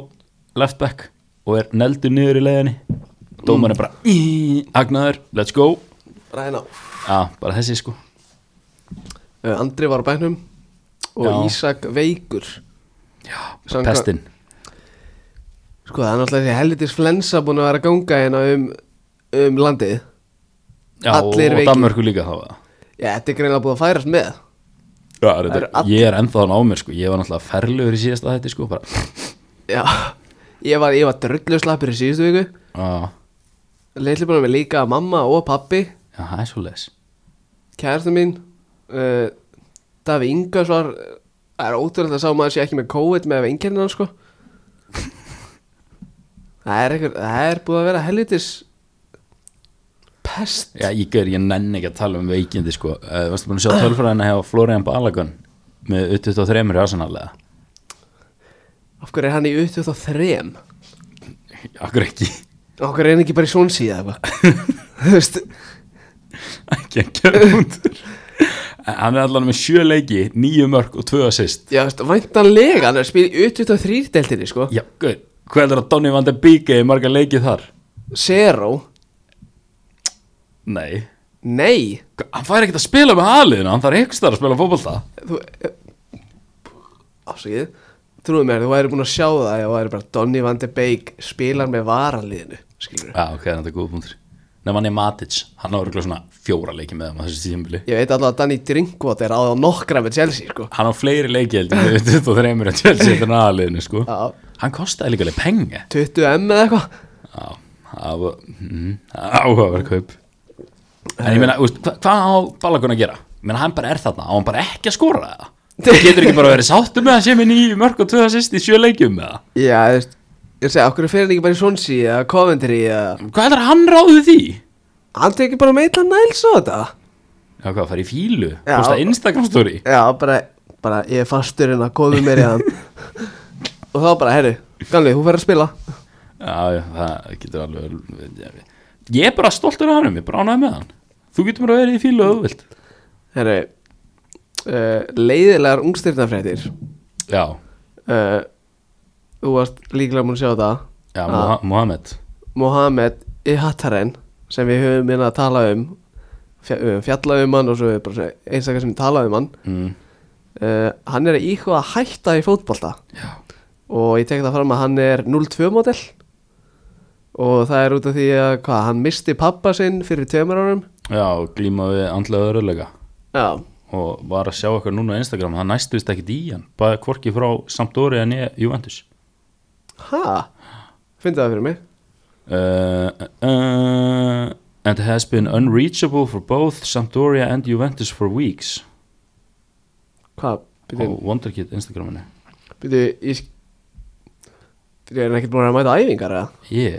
S2: left back og er neldur niður í leiðinni dómarinn bara "Í, agnaður, let's go
S1: Ræna
S2: Já, bara þessi sko
S1: uh, Andri var á bænum Og
S2: Já.
S1: Ísak Veikur
S2: Já,
S1: Samkvæ-
S2: pestin
S1: Sko, það er náttúrulega þessi hellitis flensa búin að vera að ganga hérna um, um landið
S2: Já, og,
S1: Allir
S2: og
S1: veikir.
S2: Danmörku líka þá eða?
S1: Já, þetta er greinlega búin að færast með
S2: Já, er
S1: Það eru
S2: þetta,
S1: allir-
S2: ég er ennþá hann á mér sko ég var náttúrulega ferlegur í síðasta þetta sko bara,
S1: Já, ég var, ég var drulluslappur í síðustu viku
S2: Já,
S1: Leitli búin að vera líka mamma og pappi
S2: já, það er svo les
S1: kærasta mín uh, Davi Ingas var það eh, er ótrúlega að sá maður sé ekki með COVID með veinkernan sko það er eitthvað það er búið að vera helvitis pest
S2: Já, ég gör, ég nenni ekki að tala um veikindi sko uh, Varstu búin að sjá tölfræðina hjá Florian Balagun með 23 í ásanarlega
S1: af hverju er hann í uttu þá þrem
S2: Akkur ekki
S1: af hverju er hann ekki bara í svon síða þú veist
S2: ekki að gera hundur Hann er allan með sjö leiki, níu mörg og tvö assist
S1: já, þú veist, væntanlega hann er að spila í uttu þá þrýrdeltinni sko
S2: Já, gör, hvað er það að Donny van der Beek eða marga leiki þar?
S1: zero
S2: Nei
S1: nei
S2: Hva- Hann fær ekkert að spila með aðliðinu, hann þarf ekki að spila fótbolta
S1: þú afsakið trúið mér, þú væri búin að sjá það og væri bara Donny van de Beek spilar með varaliðinu skilur
S2: Já, ok, þetta er góð punktur Nefn hann er Matic, hann á örgulega svona fjóra leiki með þeim á þessu tíðanbili
S1: ég veit alltaf að Danny Drinkwater á þá nokkra með Chelsea sko
S2: Hann á fleiri leiki heldur með 23 að Chelsea þetta er aðliðinu sko
S1: Já,
S2: Hann kostaði líka alveg pengi
S1: 20M eða eitthvað
S2: Já, það var mhm, það var áhugaverð kaup En ég meina, úst, hva, hvað á Balagun að gera? Ég meina, hann bara er þarna, á hann bara ekki að skora það Það getur ekki bara verið sáttur með að sé með nýju mörg og tvöða sýst í sjö leikjum með það
S1: já, þú veist ég segi, okkur fyrir hann ekki bara í Swansea eða Coventry eða
S2: Hvað er hann ráðið því?
S1: hann tekið bara meitla næls á þetta
S2: Já, hvað, fara í fílu?
S1: Já.
S2: Posta Instagram story?
S1: já, bara, bara ég er fastur en að komi mér í hann og þá bara, herru, Ganli, þú fer að spila
S2: Já, já, það getur alveg Ég er bara stoltur af hann, ég bránaði með hann Þú getur bara verið í fílu og þú vilt
S1: herru uh, leiðilegar ungstyrnafréttir
S2: Já,
S1: uh, Þú varst líklega múin að sjá það
S2: já,
S1: að
S2: Moha- Mohamed
S1: Mohamed Ihataren sem við höfum minna að tala um fjall, við höfum fjallað um hann og svo er bara einstakar sem talað um hann
S2: mm.
S1: uh, hann er að íhuga að hætta í fótbolta
S2: Já,
S1: og ég tek það fram að hann er 0-2 model og það er út af því að hvað, hann misti pappa sinn fyrir tveimur árum
S2: já og glíma við andlega örulega
S1: já,
S2: og var að sjá eitthvað núna á Instagram það næstuðist ekkit í hann, bara hvorki frá Sampdóri en ég Juventus
S1: hæ finnst það fyrir mig
S2: uh, uh, and has been unreachable for both Sampdoria and Juventus for weeks
S1: hvað, byrju,
S2: og Wonderkid Instagraminu
S1: byrju ég sk- byrju, er hann ekkert búin að mæta á æfingar eða?
S2: ég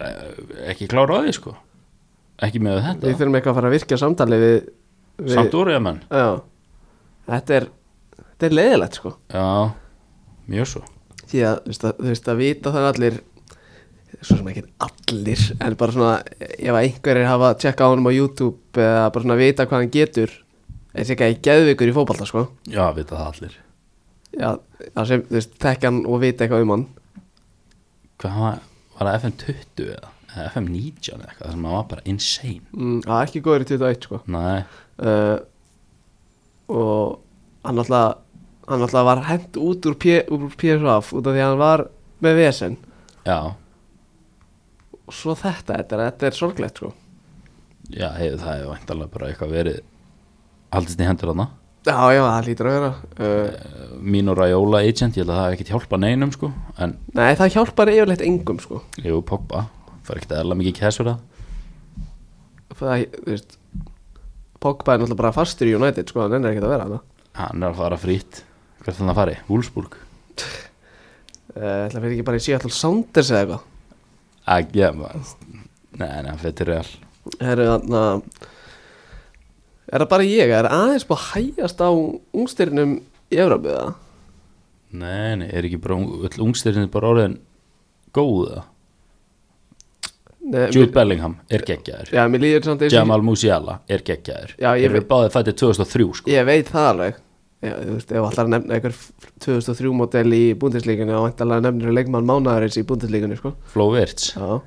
S2: eh, ekki klára á því sko ekki með
S1: við
S2: þetta
S1: þurfum eitthvað að fara að virkja samtali við, við
S2: Sampdória menn,
S1: já, þetta er þetta er leiðilegt sko
S2: já mjög svo
S1: því að þú veist að, þú veist að vita það allir svo sem ekki allir en bara svona ef að einhverjir hafa að tjekka á honum á YouTube eða bara svona vita hvað hann getur eða sé ekki að ég geðvikur í fótballta sko
S2: já, vita það allir
S1: já, það sem þú veist tekja hann og vita eitthvað um hann
S2: hvað var, var það FM 20 eða eða FM 19 eða eitthvað sem var bara insane
S1: mm, það er ekki góður í 21 sko
S2: nei,
S1: uh, og hann alltaf hann alltaf var hent út úr, P, úr PSVF út af því að hann var með vesen
S2: já
S1: og svo þetta, þetta er, þetta er sorglegt sko
S2: Já, hef, það hefur væntalega bara eitthvað verið haldist í hendur hana
S1: já, já, það lítur að vera uh,
S2: mín og Raiola agent, ég held að það hef ekkert hjálpa neinum sko, en
S1: nei, það hjálpar yfirleitt engum sko
S2: jú, poppa það er ekkert eðla mikið kæs fyrir það
S1: það, þú veist Pogba er náttúrulega bara fastur í United sko, hann er ekkert að vera hana
S2: hann er að fara frýtt, hvert er hann að fari? Wolfsburg?
S1: uh, það fyrir ekki bara í Seattle Sounders eða eitthvað
S2: Að, já, maður nei, nei, hann fyrir til Real
S1: Herru, þarna Er það bara ég, er aðeins búið að hægjast á ungstyrnum í Evrabuða?
S2: nei, nei, er ekki bara ung- öll ungstyrinn bara orðin góða
S1: Nei,
S2: Jude Bellingham er geggjaður
S1: Já, mér líður samt eins og-
S2: Jamal Musiala er geggjaður
S1: Já, ég
S2: þeir eru
S1: veit-
S2: báðið fættið 2003 sko
S1: Ég veit það alveg Já, þú veist, ef allar nefna einhver 2003 model í búndislíkunni og vantarlega nefnir leikmann mánaðarins í búndislíkunni, sko
S2: Flo Virts,
S1: Já,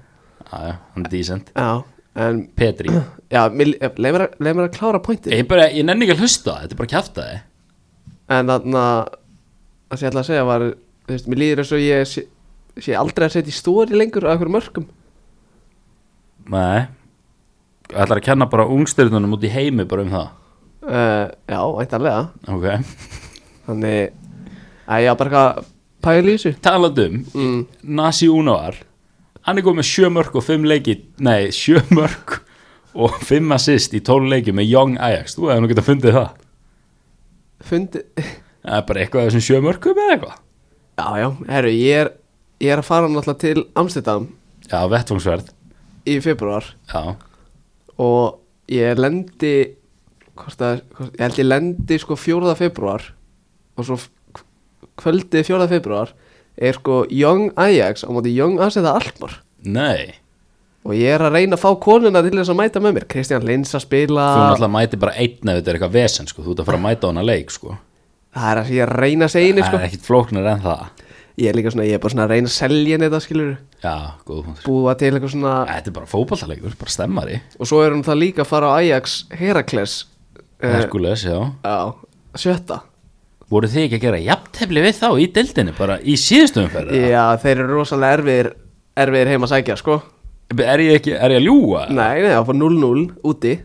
S2: aðja, hann er decent
S1: já, en
S2: Petri,
S1: Já, mér- leið mér að- leið mér að klára pointið
S2: ég, bara, ég nenni ekki að hlusta á það, þetta er bara kjaftaði
S1: En þarna Það sem ég ætla að segja var Þú veist, mér líður eins og ég sé, sé aldrei að setja í stóri lengur á einhverjum mörgum
S2: Nei Það ætlar að kenna bara ungstyrnunum út í heimi bara um það
S1: uh, Já, væntanlega
S2: Ok
S1: Þannig að ég á bara eitthvað að pæla í þessu
S2: Talandum mm. Nasi Unovar Hann er komið með sjö mörg og fimm leiki Nei, sjö mörg og fimm assist í tól leiki með Young Ajax Þú hefði nú getað fundið það
S1: Fundi
S2: Það er bara eitthvað af þessum sjö mörgum eða eitthvað
S1: Já, já, herru, ég er, ég er að fara náttúrulega til Amsterdam
S2: Já, vettfangsverð
S1: í februar
S2: Já,
S1: og ég lendi hvort að, hvort, ég held ég lendi sko 4. februar og svo f- kvöldið 4. februar er sko Young Ajax á móti Young Aseta Almar
S2: nei
S1: og ég er að reyna að fá konuna til þess að mæta með mér Kristján Lins að spila
S2: Þú náttúrulega mæti bara einn ef þetta er eitthvað vesen sko. Þú ert að fara að mæta á hana leik sko.
S1: það er að ég er að reyna að segja henni
S2: Það
S1: sko
S2: er ekkit flóknar en það
S1: ég er líka svona, ég er bara svona að reyna að selja henni þetta skilur
S2: Já, góð punktur
S1: búa til eitthvað svona
S2: Þetta er bara fótballtaleikur, bara stemmari
S1: og svo er hún það líka að fara á Ajax Herakles uh,
S2: Herkules, já
S1: á sjötta
S2: voru þið ekki að gera jafntefli við þá í dildinu bara í síðustu umferð eða?
S1: já, þeir eru rosalega erfiðir erfiðir heima að sækja sko
S2: er ég ekki, er ég að ljúga
S1: Nei, nei, það var 0-0 úti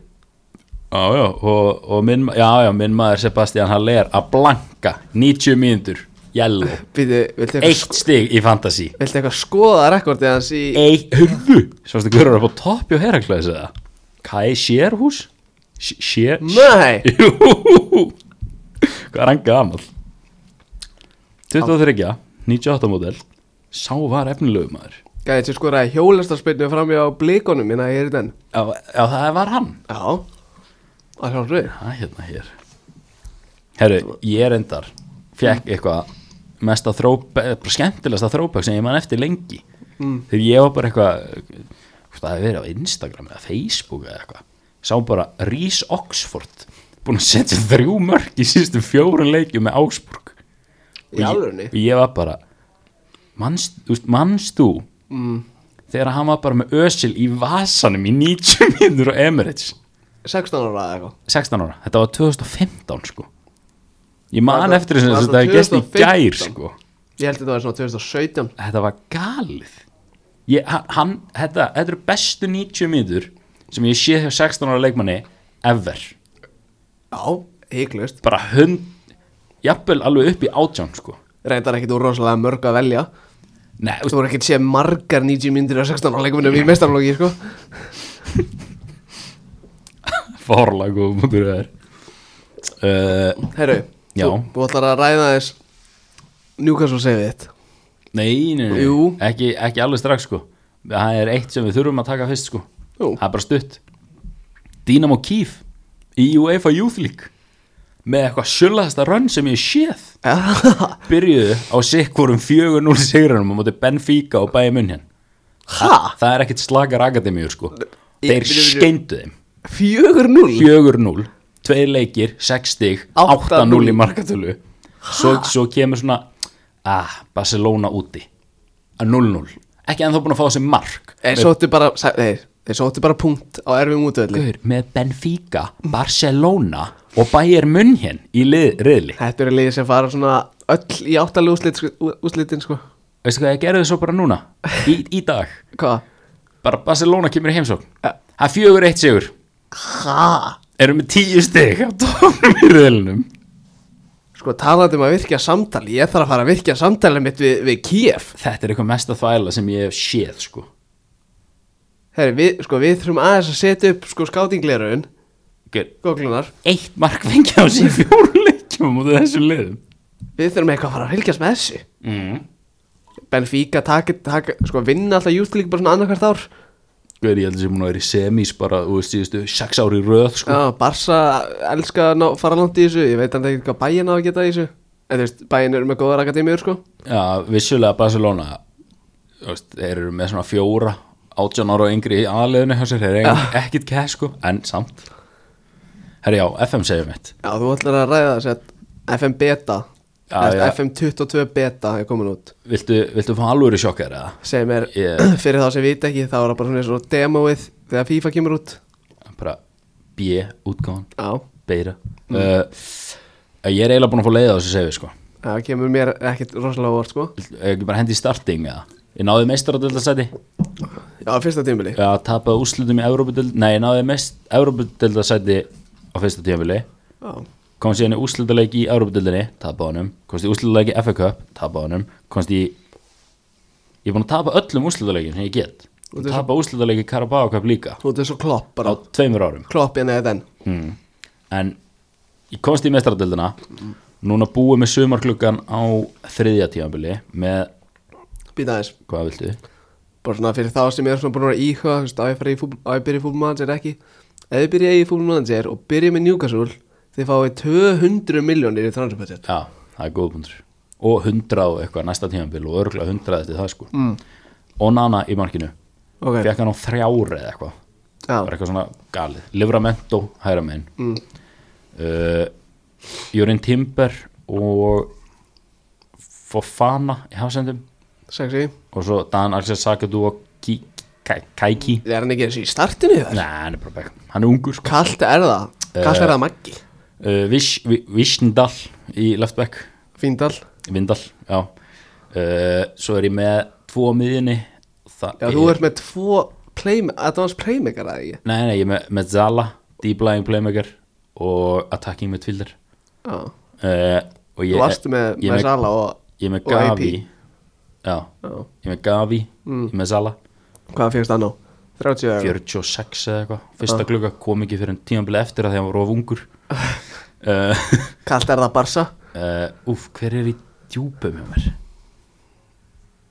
S2: já, já, og, og minn, ma- já, já, minn maður Sebastian Haller að blanka 90 mínútur, jello
S1: Býtu, viltu eitthvað,
S2: eitt stig í fantasy
S1: viltu eitthvað skoða rekordið hans í
S2: eitt, hörðu, svo stu hverju er upp á toppi og heraklæðis eða Kai Sérhús Sér
S1: Nei,
S2: Jú. hvað er hann gamal 23 98 módel sá var efnilegu maður
S1: gæði sér skoraði hjólastarspilnu framjá blíkonum minna hér hérna í den
S2: já, já, það var hann
S1: Já, að sjálfsög
S2: Það er hérna hér Herru, ég reyndar
S1: Mm.
S2: Fjekk eitthvað mesta þróbæk bara skemmtilegasta þróbæk sem ég man eftir lengi
S1: Mm.
S2: þegar ég var bara eitthvað hvort það hefði verið á Instagram eða Facebook eða eitthvað sá bara Rhys Oxford búin að setja þrjú mörk í síðustu fjórun leikjum með Augsburg
S1: Í alvörunni?
S2: og ég var bara manst, úst, manst þú mm. þegar hann var bara með Özil í vasanum í 90 minnur á Emirates
S1: 16 ára eða eitthvað
S2: 16 ára, þetta var 2015 sko ég man
S1: Var það-
S2: eftir þessu
S1: var
S2: eins og
S1: það
S2: þetta hefði gæst í gær
S1: 2015?
S2: sko
S1: Ég held að þetta var svona 2017
S2: þetta var galið ég, ha- hann, þetta, þetta eru bestu 90 mínútur sem ég sé hjá 16 ára leikmanni ever
S1: Já, hygglust
S2: bara hund, jafnvel alveg upp í átján sko.
S1: Reyndar ekkit úr rosalega mörg að velja
S2: Nei, þú
S1: Þú voru ekkit sé margar 90 myndir á 16 ára leikmunum í mestarlóki sko.
S2: veist fórlega góð mútur það er uh,
S1: Herru,
S2: Já.
S1: þú, þú ætlar að ræða þess Newcastle segið þitt
S2: Nei, nei, nei.
S1: Jú.
S2: Ekki, ekki alveg strax sko Það er eitt sem við þurfum að taka fyrst sko
S1: Jú.
S2: Það er bara stutt Dynamo Kiev í UEFA Youth League með eitthvað sjölaðasta rönn sem ég séð
S1: Ja,
S2: byrjuðu á sikkurum 4-0 sigrunum á móti Benfica og Bayern München
S1: Ha?
S2: Það er ekkit slakar akademíur sko
S1: Í-
S2: Þeir
S1: byrju, byrju.
S2: skeindu þeim
S1: 4-0
S2: 4-0, tveir leikir, 6 stig 8-0 í markatölu svo, svo kemur svona ah, Barcelona úti að 0-0, ekki ennþá búin að fá þessi mark
S1: Þeir sóttu bara, sa- þeir, þeir sóttu bara punkt á erfum útvöldi
S2: Guður, með Benfica, Barcelona og Bayern München í lið, riðli
S1: Þetta eru liðið sem fara svona öll í áttalegu úslit, sko- úslitin sko
S2: veistu hvað, ég gerði þið svo bara núna í, í dag,
S1: Hvað?
S2: bara Barcelona kemur í heimsókn það er fjögur eitt sigur
S1: Hæ?
S2: erum með 10 stig á tónum í riðlinum
S1: Sko talandi um að virkja samtali Ég þarf að fara að virkja samtali mitt við, við Kiev
S2: þetta er eitthvað mesta þvæla sem ég hef séð sko.
S1: Herri, við, sko, við þurfum aðeins að setja upp sko skátingleirun
S2: Guður,
S1: Góglunar
S2: eitt mark fengið á sig fjóru leikjum á móti þessum liðum
S1: Við þurfum eitthvað að fara að fylgjast með þessu
S2: mm.
S1: Benfica taka, taka sko vinna alltaf Youth League bara svona annarkvært ár
S2: Guður, ég held að sem hún að vera í semis bara, þú veist, síðustu, sex ári röð sko.
S1: Já, Barca elska að ná- fara langt í þessu Ég veit hann ekki hvað bæin á að geta í þessu En þú veist, bæin eru með góðar akademíur sko
S2: Já, vissulega Barcelona þú veist, þeir eru með svona fjóra átján ára og yngri í aðliðinu hjá sér, þeir eru ekkit cash sko, en samt Herri já, FM segir mitt
S1: Já, þú ætlar að ræða þessu að FM Beta
S2: Já,
S1: eða
S2: já.
S1: FM 22 Beta er komin út
S2: Viltu, viltu fá alvöru sjokkar eða?
S1: sem er,
S2: Ég-
S1: fyrir þá sem vita ekki þá er það bara svona eins og demoið þegar FIFA kemur út
S2: Bara B, útgáðan,
S1: Já,
S2: beira uh, Ég er eiginlega búin að fá leiða á þessu segir sko
S1: það kemur mér ekkert rosalega vort sko
S2: Viltu- ekki bara hendi í starting eða Ég náði meistaradöldasæti
S1: Já, fyrsta tímili
S2: Já, tapaði úslutum í Európa-döld Nei, ég náði mest Európa-döldasæti á fyrsta tímafili
S1: Já,
S2: komst síðan í úrslutaleik í Európa-dildinni tapaði honum, komst í úrslutaleik í FA Cup tapaði honum, komst í ég er búin að tapa öllum úrslutaleikin sem ég get
S1: Og
S2: og
S1: þessu-
S2: tapa úrslutaleik í Carabao Cup líka
S1: þú ert svo klopp
S2: á
S1: bara
S2: tveimur árum
S1: Klopp en eða þenn
S2: hmm. en ég komst í mestaradildina núna búið með sumarklukkan á þriðja tímabili með,
S1: Býta aðeins
S2: hvað viltu
S1: Bara svona fyrir þá sem eru svona búin að vera íhuga Þú veist, á ég fara í fútbol, á ég byrja í fútbolmanager ekki Ef þið byrja í fútbolmanager og byrja með Newcastle Þið fáið 200 miljónir í transferbudget
S2: já, það er góðbundur og 100 og eitthvað næsta tímabili og örgulega 100 eftir það sko mm. og Nana í markinu
S1: Ok,
S2: fekk hann á þrjári eða eitthvað
S1: já,
S2: var eitthvað svona galið Livramento, hæra megin mm. uh, Jörn Timber og Fofana í hafsendum
S1: sexy
S2: og svo Dan Axel Sakadu og Ki- Ka- Kaiki
S1: Er hann ekki eins og í startinu þar?
S2: Nei, hann er bara bekk, hann er ungur sko.
S1: Kallt er það, kallt er það Maggi
S2: uh, Vish, Vi- Vishendal í leftback,
S1: Fíndal
S2: Vindal já. Uh, svo er ég með tvo á miðinni Það
S1: Já, þú ert með tvo play, advanced playmaker að ekki
S2: Nei, nei, ég er með, með Zala, Deep Lying Playmaker og Attacking Midfielder
S1: Já,
S2: uh, og
S1: þú
S2: ég,
S1: varstu með,
S2: ég
S1: með Sala og,
S2: ég er með
S1: og
S2: Gavi
S1: AP.
S2: já,
S1: Já.
S2: ég er með Gavi
S1: Mm.
S2: ég er með Sala,
S1: Hvað fyrst hann á? 30 eða
S2: 46 eða eitthvað
S1: Ah.
S2: fyrsta klukka kom ekki fyrir en tímanbili eftir að því að hann var of ungur uh,
S1: Kallt er það Barsa
S2: uh, úf, hver er í djúpum hjá mér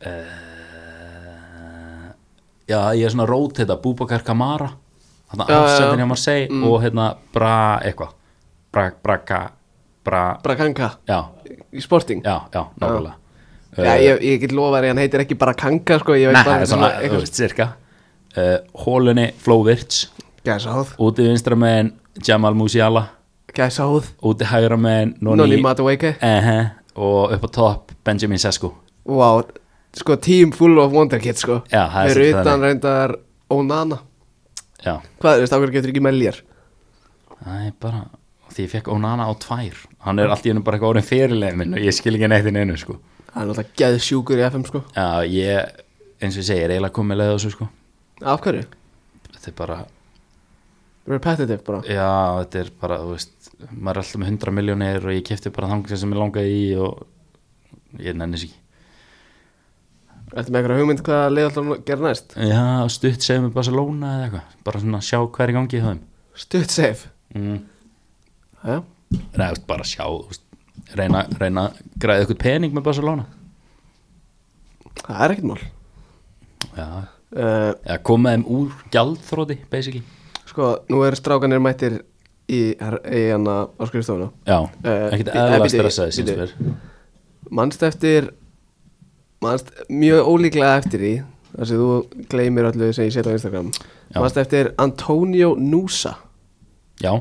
S2: uh, já, ég er svona rót þetta, Búbakar Kamara þarna
S1: Já, Mm. já, já.
S2: afsendin hjá Marseille og hérna bra eitthvað bra, bra, bra, bra
S1: Brakanka
S2: já,
S1: í Sporting
S2: já, já, nákvæmlega
S1: Já, ég, ég get lofa þér að hann heitir ekki bara Kanka sko, ég veit
S2: Eh, Nei,
S1: bara
S2: það er svona, þú veist, cirka uh, Hólunni, Fló Virts
S1: Gæsáð,
S2: Úti vinstra megin, Jamal Musiala
S1: gæsáð,
S2: Úti hægra megin,
S1: Nonni
S2: Noni
S1: Matueike
S2: uh Og upp á topp, Benjamin Sesko
S1: Vá, sko team full of wonderkids sko
S2: Já, það er
S1: Fyrir
S2: svolítið
S1: utan reyndar Onana
S2: Já,
S1: Hvað, þú veist, ákveður getur ekki með lýjar
S2: það er bara Því ég fekk Onana á tvær Hann er allt í hennu bara eitthvað orðin fyrirlega minn Og ég skil ekki neitt í neinu, sko
S1: Það er náttúrulega geðsjúkur í FM sko
S2: Já, ég, eins og ég segi, er eiginlega komið leið á þessu, sko
S1: Af hverju?
S2: Þetta er bara
S1: repetitive bara
S2: Já, þetta er bara, þú veist maður er alltaf með 100 miljónir og ég kefti bara þangar sem ég langaði í og ég nenni sér ekki
S1: Þetta með einhverja hugmynd hvað að leiða alltaf að gera næst
S2: Já, stutt segja með Barcelona eða eitthvað bara svona sjá hver í gangi í höfum
S1: Stutt safe
S2: mm.
S1: Já,
S2: Nei, þú veist, bara sjá þú veist, reyna, reyna að græða eitthvað pening með Barcelona
S1: það er ekkert mál
S2: Já,
S1: uh,
S2: eða koma þeim úr gjaldþróti, basically
S1: Sko, nú eru strákanir mættir í, í hérna hana á skrifstofuna
S2: Já,
S1: Eh,
S2: ekkert
S1: bíddu, eh,
S2: eðla
S1: bíddu,
S2: stressaði síns
S1: bíddu.
S2: verið
S1: Manst eftir manst mjög ólíklega eftir því þar sem þú gleymir öllu sem ég set á Instagram
S2: Já.
S1: Manst eftir Antonio Nusa
S2: Já,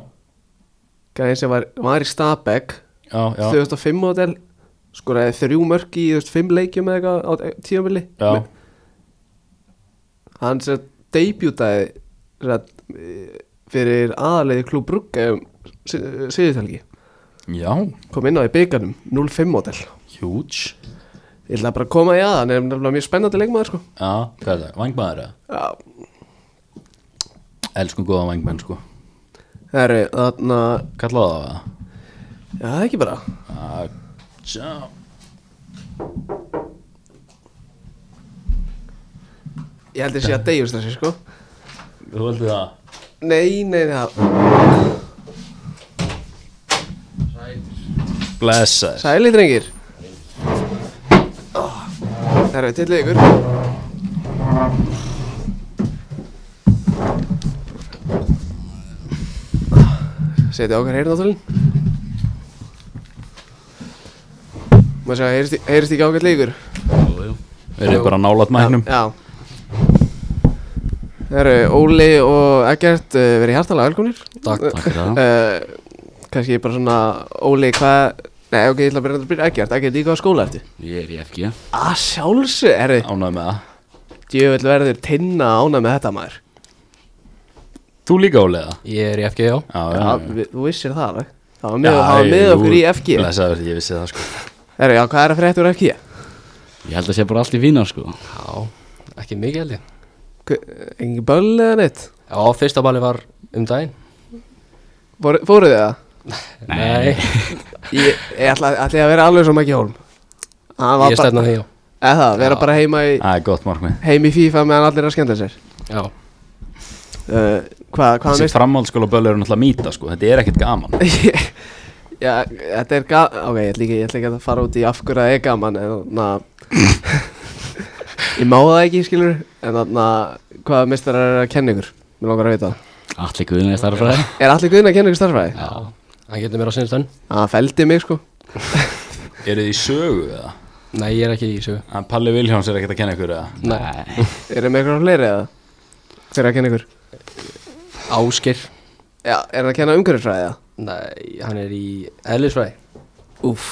S1: gæðin sem var, var í Stabæk
S2: já, já
S1: 2005 model skoraði þrjú mörk í þú veist, fimm leikjum eða eitthvað á e- tíumvili
S2: Já,
S1: hann sem sagt debutaði sem sagt, eh, fyrir aðalegi klub Brugge um síðutelgi
S2: já,
S1: kom inn á í byggarnum 05 model
S2: huge
S1: ég ætla bara að koma í aðan er nefnilega mjög spennandi leikmaður sko
S2: Já, hvað er það, vangmaður eða?
S1: Já.
S2: Elskum góða vangmenn sko
S1: Herri, þarna
S2: Kallaðu það það?
S1: Já, það er ekki bara
S2: Ah, Tjá
S1: Ég held ég sé að deyjust þessi sko
S2: Þú heldur það?
S1: Nei, nei, það
S2: Blessa þér
S1: Sæli drengir oh. Herri, til ykkur Setið Ah, okkar heyrnáttúlin Má sjá, heyrist í- heyrist ekki ágætt leikur
S2: Við erum bara nálat mæknum
S1: Já Herru, Óli og Eggert uh, verið hjartalega velkomnir
S2: Takk, takk fyrir það
S1: uh, Kanski bara svona Óli, hvað Nei, ok, ég ætla að byrja að byrja Eggert Eggert, í hvað skóla ertu?
S3: Ég er í FG
S1: Að sjálfsög, herru
S2: Ánægð með það
S1: Djöfell verður tinna ána með þetta maður
S2: Þú líka ólega
S3: Ég er í FG, já
S2: Já,
S1: ja,
S2: já
S1: við, Þú vissir það alveg Það var með, það var með okkur í FG
S2: Blessa þér, ég vissi það sko
S1: Herru, já, hvað er að frétta úr FG?
S3: Ég held að sé bara allt í vínar, sko
S4: Já, ekki mikið held ég
S1: Hver- Engin böll eða neitt?
S4: Já, fyrsta bali var um daginn
S1: Fóru- Fóruð þið það?
S4: Nei,
S1: Ég, ég ætla, ætla ég að vera alveg svo mikið hólm Hann var
S4: ég
S1: bara-
S4: stefna því já
S1: Eða það, vera bara heima í
S2: Það er gott markmið
S1: heim í FIFA meðan allir er að skemmta sér
S4: Já,
S1: uh, hvað, hvað
S2: Þessi
S1: hann
S2: framhaldsskóla bölu eru náttúrulega mýta sko Þetta er ekkert gaman
S1: veist já, þetta er gaman ok, ég ætla ekki, ég ætla ekki að fara út í af hverju það er gaman en þarna ég má það ekki, skilur en þarna, hvaða mistar er að kenna ykkur mér langar að vita það.
S3: Allir guðin er starfræði
S1: er allir guðin að kenna ykkur starfræði?
S3: Já
S4: hann getur mér á sinnstönn
S1: hann fældi mig, sko
S2: Eru þið í sögu eða?
S4: Nei, ég er ekki í þessu
S2: Að Palli Vilhjáms er ekkert að kenna ykkur eða?
S4: Nei,
S1: er það með ykkur á fleiri eða? hver er að kenna ykkur?
S4: Áskir
S1: já, er það að kenna umhverfisfræði eða?
S4: Nei, hann er í eðlisfræði
S1: úff,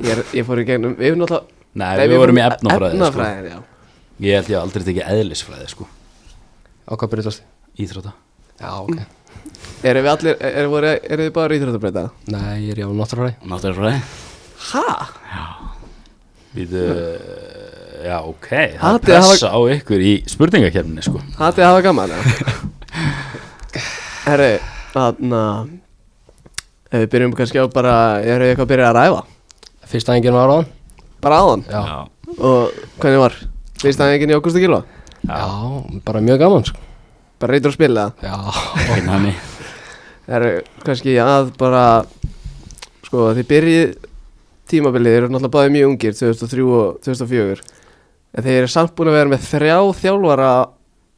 S1: ég, er- ég fór í gegnum við erum náttúrulega
S2: Nei,
S1: Nei,
S2: við vorum í
S1: fórum-
S2: efnafræði sko.
S1: efnafræðin, já
S2: Ég held ég hafi aldrei tekið eðlisfræði sko
S4: Á hvað byrjast
S2: Íþrótta
S4: Já, ok
S1: Erum við allir, er, er, voru- eru þið bara íþróttabreita?
S4: Nei, ég er í á náttúrfræði
S3: Náttúrfræði
S1: Hæ?
S2: Við, uh, já, ok, það
S1: Hatið
S2: er pressa á ykkur í spurningakefninni, sko.
S1: Hatið að hafa gaman eða? Herri, þarna Ef við byrjum kannski á bara Eru við eitthvað að byrja að ræfa?
S4: Fyrsta enginn var á hann
S1: Bara áðan
S4: Já.
S1: Og hvernig var? Fyrst að enginn í augustu kíló?
S4: Já, bara mjög gaman sko
S1: Bara reytur að spila það?
S4: Já,
S3: Ekki næmi
S1: Herri, kannski að bara Sko, þið byrjið tímabilið Þeir eru náttúrulega báðið mjög ungir 2003 og 2004 En þeir eru samt búin að vera með þrjá þjálfara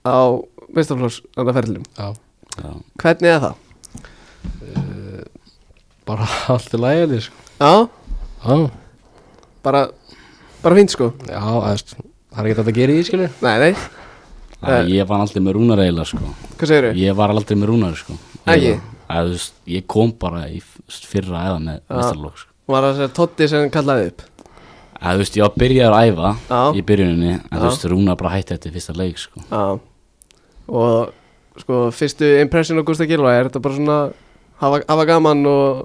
S1: Á meistaflóks andarferðlum
S4: já
S3: Já
S1: Hvernig er það?
S4: Bara allt í lagi held ég sko
S1: Já,
S4: Já,
S1: bara, bara fínt sko
S4: já, þú veist Það er ekki þetta að gera í því skilur
S1: Nei, nei,
S3: Það,
S1: Eh.
S3: ég var aldrei með rúnar eiginlega, sko
S1: hvað segir þau?
S3: Ég var aldrei með rúnar, sko
S1: Ekki?
S3: Það, þú veist, ég kom bara í f- fyrra að æfa með mestarlók, sko
S1: Var það sér Totti sem kallaði upp
S3: Það, þú veist, ég var byrjaður að æfa
S1: Já.
S3: í byrjuninni En
S1: Já.
S3: þú veist, rúnar bara hætti þetta í fyrsta leik, sko
S1: Já Og sko, fyrstu impression á Gústa Gilva Er þetta bara svona hafa, hafa gaman og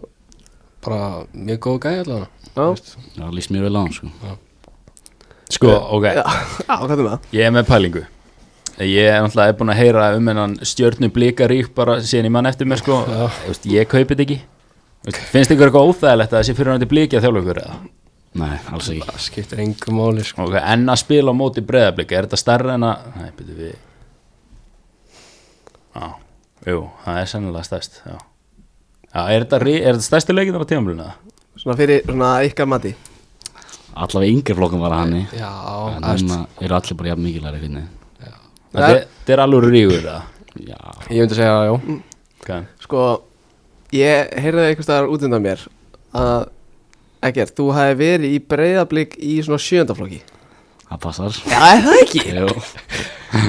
S4: Bara mjög góð gæði allavega
S1: Já,
S3: Það líst mjög vel á hann, sko
S2: Sko, ok,
S1: já, já hvað er með það?
S2: ég er með pælingu. Ég er náttúrulega búin að heyra um hennan stjörnu blikarík bara síðan ég mann eftir mér sko Þú veist, Ég kaupi þetta ekki Þú veist, Finnst ykkur eitthvað óþægilegt að þessi fyrir hann til blikja þjálfugur eða?
S3: Nei, alls ekki
S4: Það skiptir engu máli sko.
S2: Ok, en að spila á móti breyðablika, er þetta starra en að Nei, byrju við Já, jú, það er sennilega stærst Já, já er þetta, ri- er þetta stærsti leikinn á tímamluna?
S1: Svona fyrir, svona ykkar mati
S3: Allavega yngri flokkum var hann í
S4: Já,
S3: En núna eru allir bara jafn mikilværi finni
S2: Þetta er- þetta er alveg rígur það
S3: Já,
S4: ég myndi segja já
S2: okay.
S1: Sko, ég heyrði einhvers staðar út undan mér að Ekkert, þú hafi verið í breyðablík í svona sjöndaflokki
S3: það passar
S1: Já, er það ekki?
S3: Jú,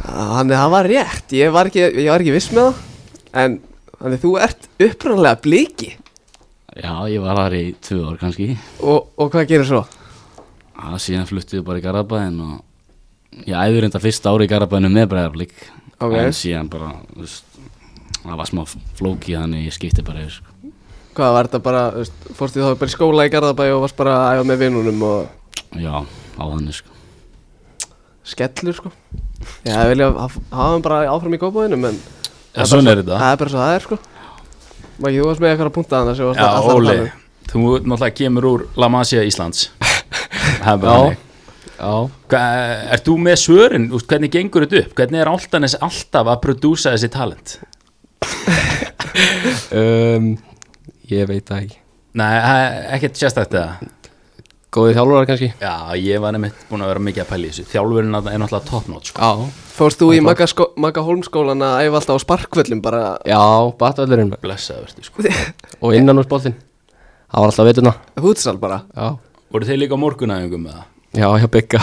S1: Þannig að það var rétt, ég var ekki, ég var ekki viss með það En, þannig þú ert uppræðanlega blíki
S3: já, ég var þar í tvö ár kannski
S1: og, og hvað gerir svo?
S3: Já, síðan fluttum við bara í Garabæðin og ég æði reynda fyrst ári í Garabæðinu með Breiðarblik
S1: Ok.
S3: en síðan bara, þú veist, það var smá flóki þannig ég skipti bara yfir sko.
S1: Hvað var þetta bara, þú veist, fórstu þá bara í skóla í Garðabæ og varst bara að æfa með vinnunum og
S3: Já, á þannig sko.
S1: skellur sko Já, ég vilja haf- hafa hann bara áfram í kópaðinum en
S2: Já, svona er þetta
S1: það er bara svo það er sko Mæki, þú varst með eitthvað að punta þannig sem varst
S2: Já,
S1: alltaf að
S2: Óli,
S1: tala um.
S2: þú náttúrulega kemur úr La Masia Íslands Það er bara
S4: Já,
S2: þannig.
S4: já
S2: Hva, Er þú með svörin? Úst, Hvernig gengur þetta upp? Hvernig er Áltanes alltaf að prodúsa þessi talent?
S4: um, Ég veit það ekki
S2: Nei, það er ekkert sérstætt það
S4: Góði þjálfarar kannski
S2: Já, ég var nefnitt búin að vera mikið að pæla í þessu Þjálfurinn þarna er náttúrulega topnót sko.
S4: Já,
S1: Fórst þú í Magga skó- Magga Holmskólan að æfa alltaf á sparkvöllum bara
S4: já, batvöldurinn
S2: Blessaður, þú sko
S4: Og innan úr spoltinn Það var alltaf vituna
S1: hútsal bara
S4: Já,
S2: Voru þeir líka morgunæðingum með það?
S4: já, já, bygga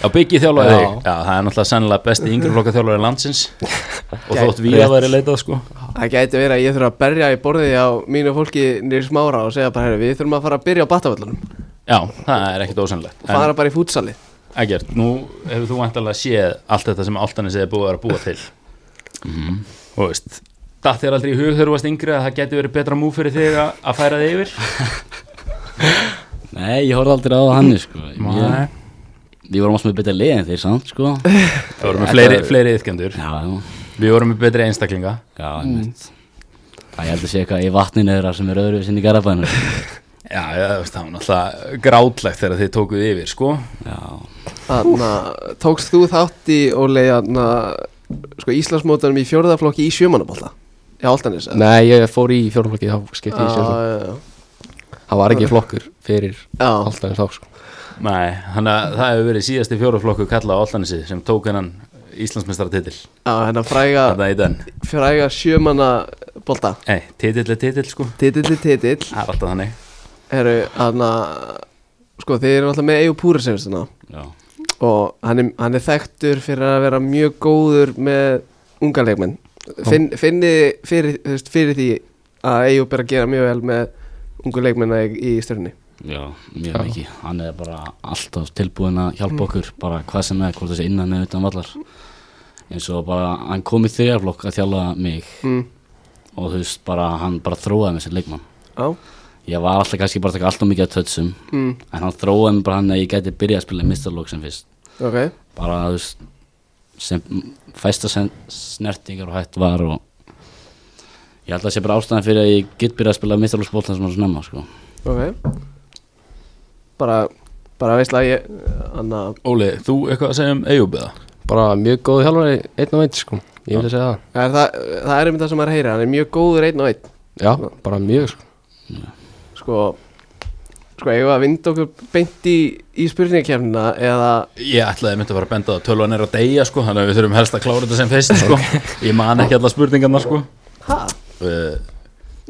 S2: Já, Biggi þjálfaði
S4: Já.
S2: þig Já, það er náttúrulega sennilega besti yngri flokka þjálfari landsins Og
S1: Gæt-
S2: þótt við að væri leitað sko
S1: Það gæti verið að ég þurfa að berja í borðið á mínu fólki nýri smára og segja bara, herri, við þurfum að fara að byrja á batavöllunum og
S2: Já, það er ekkert ósennilegt En
S1: fara bara í fútsalið
S2: Egert, nú hefur þú vantarlega séð allt þetta sem Altanis er búið að vera að búa til Þú veist Datt þér aldrei í hug þegar þú varst yngri að það geti verið betra múf fyrir þig að að færa þig yfir
S3: Nei, ég horfði aldrei á þannig sko. ég, Við vorum alls með betra lið en þeir samt sko.
S2: Það voru með fleiri, fleiri yfkendur
S3: Já, já,
S2: Við vorum með betri einstaklinga
S3: já, ég veit Það ég held að sé eitthvað í vatninu þeirra sem er öðru sinni í Garabæðinu
S2: Já, já, þú veist, það var náttúrulega grátlegt þegar þið tókuð yfir, sko
S3: Já,
S1: Þannig að tókst þú þátt í Óli Þannig að sko, Íslandsmótanum í fjórðaflokki í sjömanabólta Já, Altanis eða?
S4: Nei, ég fór í fjórumflokki þá skipti ég
S1: Já,
S4: sér
S1: já, já.
S4: Það var ekki flokkur fyrir
S1: Já,
S4: alltaf en þá sko
S2: Nei, þannig að það hefur verið síðasti fjóraflokku kallað á Altanisi sem tók hennan Íslandsmeistaratitil
S1: já, hérna fræga
S2: Þetta í den
S1: fræga sjömanabólta
S2: Nei, titill er titill, sko
S1: Titill, titill
S2: Það er alltaf þannig
S1: Heru, þannig að sko, þið eru alltaf með Eyjú Púrasefstina
S3: já,
S1: og hann er, hann er þekktur fyrir að vera mjög góður með unga leikmenn Finn, finni fyrir, þú veist, fyrir því að Eyjú ber að gera mjög vel með ungu leikmenna í, í stjörnni
S3: já, mjög mikið Hann er bara alltaf tilbúin að hjálpa okkur bara hvað sem er, hvort þessi innan eða utan vallar eins og bara hann kom í þriðarflokk að þjálfa mig
S1: mm.
S3: og þú veist bara, hann bara þróaði með sér leikmann
S1: Já,
S3: ég var alltaf kannski bara að taka alltaf mikið að tötsum
S1: mm.
S3: en hann þróaði mig bara hann að ég gæti byrjað að spila mistarlók sem fyrst
S1: ok
S3: bara þú veist sem fæsta sem snertingar og hætt var og ég held að það sé bara ástæðan fyrir að ég get byrjað að spila mistarlóksbóltan sem hann snemma sko
S1: Ok Bara, bara veist að ég Anna,
S2: Óli, þú eitthvað að segja um Eyjúb eða?
S4: Bara mjög góði þjálfari einn og einn sko Ég myndi segja það
S1: er það, það er um það sem maður heyri Hann er mjög góður einn og einn
S4: Já, bara mjög sko
S1: Sko Sko, eigum við að vinda okkur beint í, í spurningakefnina Eða
S2: Ég ætlaði myndi að fara að benda það að tölvan er að deyja sko, þannig að við þurfum helst að klára þetta sem fyrst sko. Ég man ekki alla spurningarna sko.
S1: Ha?
S2: Uh,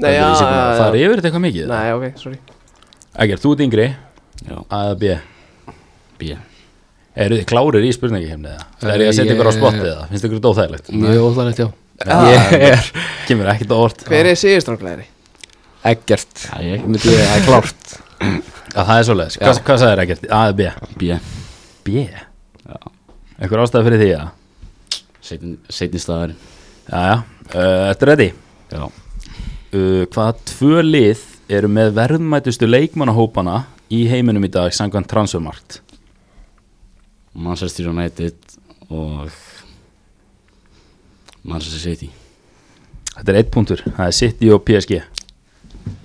S1: Nei, já,
S2: Það
S1: já,
S2: er
S1: já
S2: yfir þetta eitthvað mikið
S1: Nei, ok, sorry
S2: Ægir, þú ert yngri,
S3: já,
S2: A eða B
S3: býja
S2: Eru þið klárir í spurningakefni eða? Það er ég að setja ykkur á spottið eða? Finnst ykkur dóþægilegt?
S4: Mjög óþægilegt já
S2: Ég er Kemur ekkert á orð
S1: Hver er sigurstranglegri?
S4: Ekkert
S3: Já, ég-
S4: Myndi ég, það er klárt
S2: Já, það er svoleiðis Hvað, hvað sagðir Ægir? A eða B?
S3: býja,
S2: B? Ekkur ástæð fyrir því að?
S3: setni staðar
S2: Jæja, uh, ertu ready?
S3: já,
S2: Uh, hvaða tvö lið eru með verðmætustu leikmannahópana í heiminum í dag samkvæmt transfermarkt?
S3: Manchester United og mann sem sé í
S2: Þetta er eitt punktur, það er City og PSG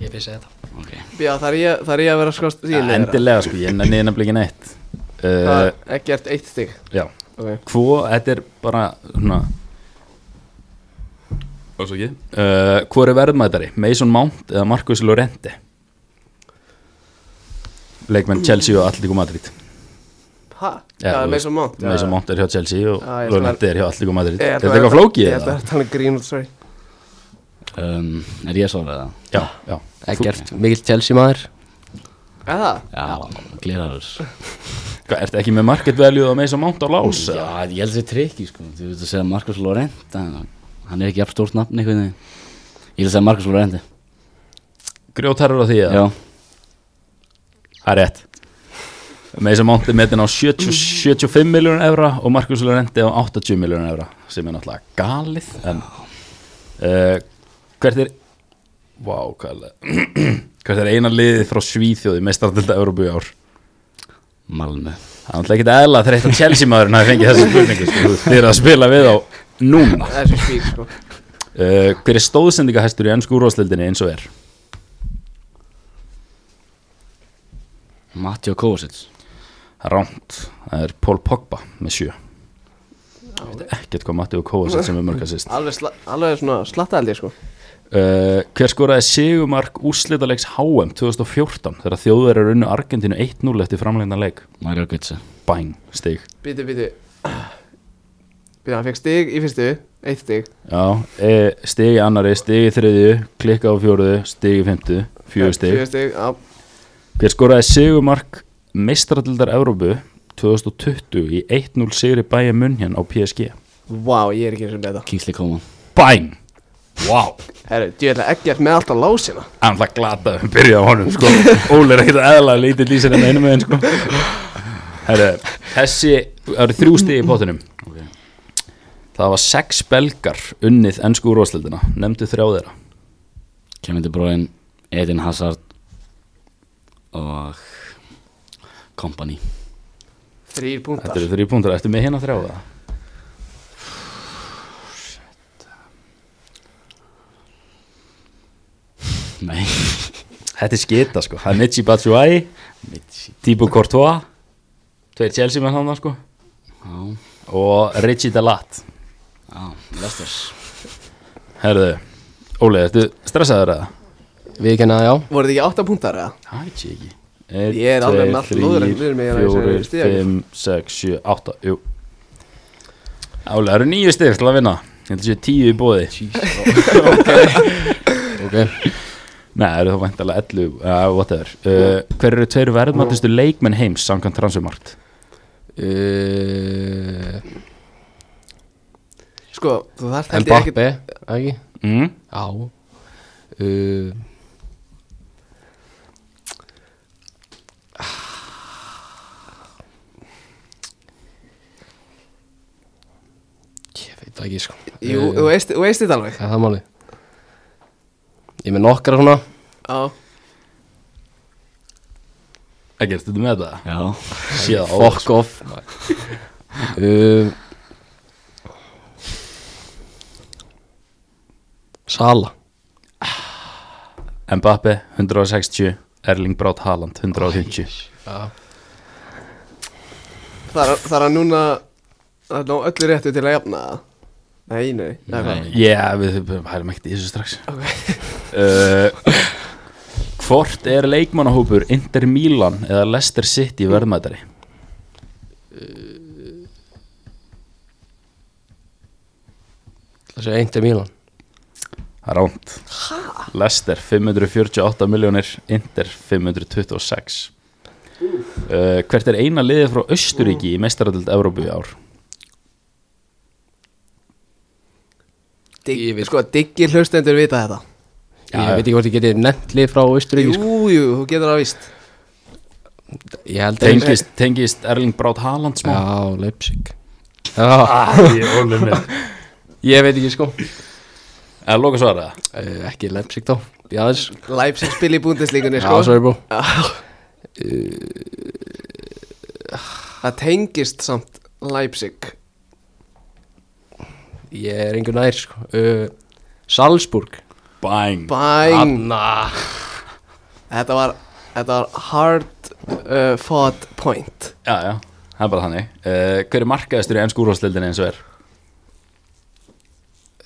S4: Ég vissi þetta
S3: ok,
S1: Já, þar er ég, þar er ég að vera sko
S2: ja,
S1: síðan
S2: Endilega sko, ég nenni nefnilega ekki neitt uh,
S1: Ekkert eitt stig
S2: Já,
S1: Ok,
S2: Hvor, þetta er bara svona Ásaki uh, Hvor er verðmætari, Mason Mount eða Marcus Llorente Leikmenn Chelsea og Atletico Madrid
S1: hæ? Já,
S2: Já,
S1: það
S2: þú
S1: er með
S2: veist.
S1: svo mánt
S2: Mason Mount er hjá Chelsea og
S1: Já, ég ætla að-
S2: Llorente er hjá Atletico Madrid Er þetta eitthvað flókið?
S1: Ég ætla að
S2: eða?
S1: vera að tala um grín, sorry
S3: um, er ég að svara það?
S2: Já, já
S4: Ekkert, mikill Chelsea maður
S1: Er það?
S3: já, gleraður
S2: Hvað, ertu ekki með market value á Mason Mount á lás?
S3: já, ég held að það er trikki sko þú veist að segja Marcus Lorent hann er ekki jafn stórt nafn einhvern veginn ég held að segja Marcus Lorent
S2: Grjótarur á því eða?
S3: já,
S2: Það er rétt Mason Mount er metin á 70, 75 miljónur evra og Marcus Llorente á 80 miljónur evra sem er náttúrulega galið en uh, hvert er wow, hvað er það? hvert er eina liðið frá Svíþjóði með startölda Európu í ár
S3: Malmö
S2: það er náttúrulega ekkit eðla þegar eitthvað Chelsea maðurinn hafi fengið þessa spurningu sko. þeir eru að spila við á núna
S1: Það er svo spík, sko
S2: uh, hver er stóðsendingahæstur í ennsku úrváðsleildinni eins og er
S3: Matteo Kovacic
S2: ránt, það er Paul Pogba með sjö ég veit ekkert hvað Matti og Kóa sem er mörg assist
S1: Alveg, sla, alveg svona slattaðaldi, sko
S2: Uh, hver skoraði Sigumark úrslitaleiks HM 2014 þegar þjóðverðar runnu Argentínu 1-0 eftir framlegna leik
S3: Mario Götze
S2: Bang, stig
S1: Býtu, býtu Býtu, hann fekk stig í fyrstu Eitt stig
S2: Já, e, stig í annari, stig í þriðju klikka á fjóruðu, stig í fymtu fjögur stig
S1: Fjögur stig, já
S2: Hver skoraði Sigumark meistratildar Európu 2020 í 1-0 sigri bæja munnjan á PSG
S1: Vá, ég er ekki eins og með þetta
S3: Kingsley Coman
S2: Bang, wow
S1: Herru, djöðlega ekkert með alltaf lásina
S2: Hann það glata að byrja á honum sko. Óli er ekkert aðla lítið lýsir en einu með henn sko. Herru, þessi það eru þrjú stigi í potinum Það var sex belgar unnið ennsku úrvarsleildina Nefndu þrjá þeirra
S3: Kevin De Bruyne Edin Hazard og Kompany
S1: Þrýr
S2: Þetta
S1: punktar
S2: eru þrjú púntar, ertu með hérna þrjá það?
S3: Nei
S2: Þetta er skita sko, það er Michi Batshuayi Thibaut Courtois Tveir Chelsea með hann sko
S3: Já,
S2: Og Richie Dalat
S3: já, Lester
S2: Herðu, Óli, ertu stressaður eða?
S4: Við kenna, já
S1: Voru þið ekki átta punktar, eða?
S2: Það veit ég ekki
S1: Ég er alveg með allt lóðurinn fyrir mig hérna í þessari
S2: 4,
S1: stigakeppni.
S2: 5, 6, 7, 8 Jú Álega, það eru nýju styrk til að vinna Ég held að séu tíu í bóði
S4: Ok
S2: Nei, það eru þá væntalega 11 uh, Whatever uh, Hver eru tveir verðmættustu leikmenn heims Samkvæmt transfermarkt
S4: Uh,
S1: Sko, þú þarft held ég ekkert
S4: Mbappe, ekki?
S1: Hmm?
S2: mm?
S4: Já uh, Ég veit það ekki sko
S1: Jú, þú veist, þú veist þetta alveg
S4: Það er það máli Ég er með nokkra svona
S1: Já,
S2: Ekkert, þetta með það
S3: Já,
S2: Síða áður
S1: sko.
S4: Fuck off uh, Sala
S2: Mbappe 160 Erling Braut Haaland 150
S4: Já
S1: þar, þar að núna Það er nú öllu réttu til að jafna það Nei, nei, nei, nei.
S2: Já, við við- við hærum ekkert í þessu strax uh, Hvort er leikmannahópur Inter Milan eða Leicester City verðmættari?
S4: Það sé einti Mílan
S2: Ránt Leicester 548 miljónir Inter 526 uh, Hvert er eina liðið frá Östuríki í mestaradöld Evrópu í ár?
S1: Digg,
S4: Ég veit-
S1: Sko, diggir hlustendur vita þetta
S4: Ég veit ekki hvort ég geti nefnt lið frá Austuríki sko.
S1: Jú, jú, þú getur það víst
S4: Ég held að
S2: Tengist, tengist Erling Braut Haaland smá?
S4: Já, Leipzig Já,
S2: Það
S4: ég veit ekki sko
S2: er loka svara
S4: uh, Ekki Leipzig þá Já, þess
S1: Leipzig spil í búndislíkunni,
S4: Já,
S1: sko
S4: sorry bro
S1: Það tengist samt Leipzig
S4: Ég er engu nær sko uh, Salzburg
S2: Bang
S1: Bæn
S4: Anna
S1: Þetta var, þetta var hard uh, fought point
S2: Já, já, það er bara þannig uh, Hver er markaðistur í ennsku úrvalstildinni eins og er?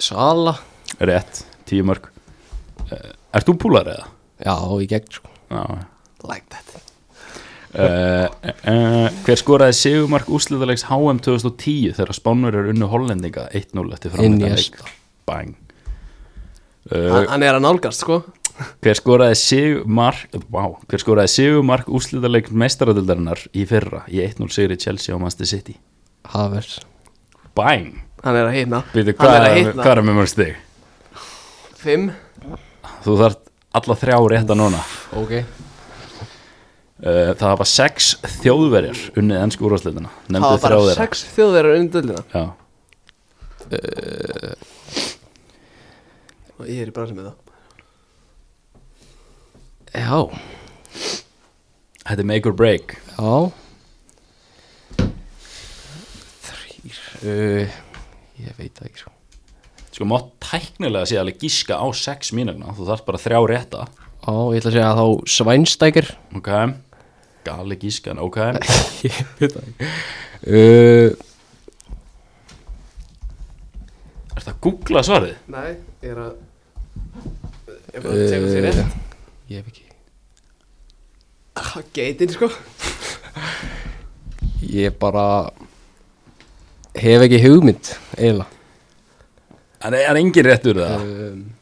S4: Sala
S2: Rétt, tíu mörg uh, Ert þú púlar eða?
S4: Já, í gegn sko
S2: Já
S1: Like that
S2: uh, uh, Hver skoraði segumark úrslitaleiks HM 2010 þegar Spánverjar unnu Hollendinga 1-0 eftir framöndan leik
S4: Iniesta.
S2: Bang
S1: Hann,
S2: uh,
S1: hann er að nálgast sko
S2: Hver skoraði segumark wow, Hver skoraði segumark úrslitaleik mestaradildarinnar í fyrra í 1-0 sigri Chelsea og Manchester City
S4: Havers
S2: Bang
S1: Hann er að hitna
S2: Býtu,
S1: Hann
S2: hvað
S1: er að
S2: er,
S1: hitna
S2: hvað er með mörg stig?
S1: Fimm
S2: Þú þarft alla þrjá rétta núna
S4: Ok
S2: Uh, Það hafa sex þjóðverjar unnið ennsku úrvarsleitina
S1: Það
S2: Nefndu
S1: var
S2: þrjá
S1: bara
S2: þeirra
S1: sex þjóðverðar undir dildina
S2: Já,
S1: Og ég er í bransi með það
S4: Já
S2: Þetta er make or break
S4: Já Þrýr uh, Ég veit það ekki sko
S2: Sko mátt tæknilega sé alveg gíska á sex mínagna Þú þarft bara þrjá rétta
S4: Já, ég ætla að segja að þá Svænstækir
S2: Ok Gali gískan, ok
S4: Ég veit það ekki uh,
S2: Ertu að googla svarið?
S1: Nei, ég er að Ég er bara að teka sér rétt
S4: Ég hef ekki
S1: Ah, Geitin sko
S4: Ég bara Hef ekki hugmynd eiginlega
S2: En er engin réttur það?
S4: um,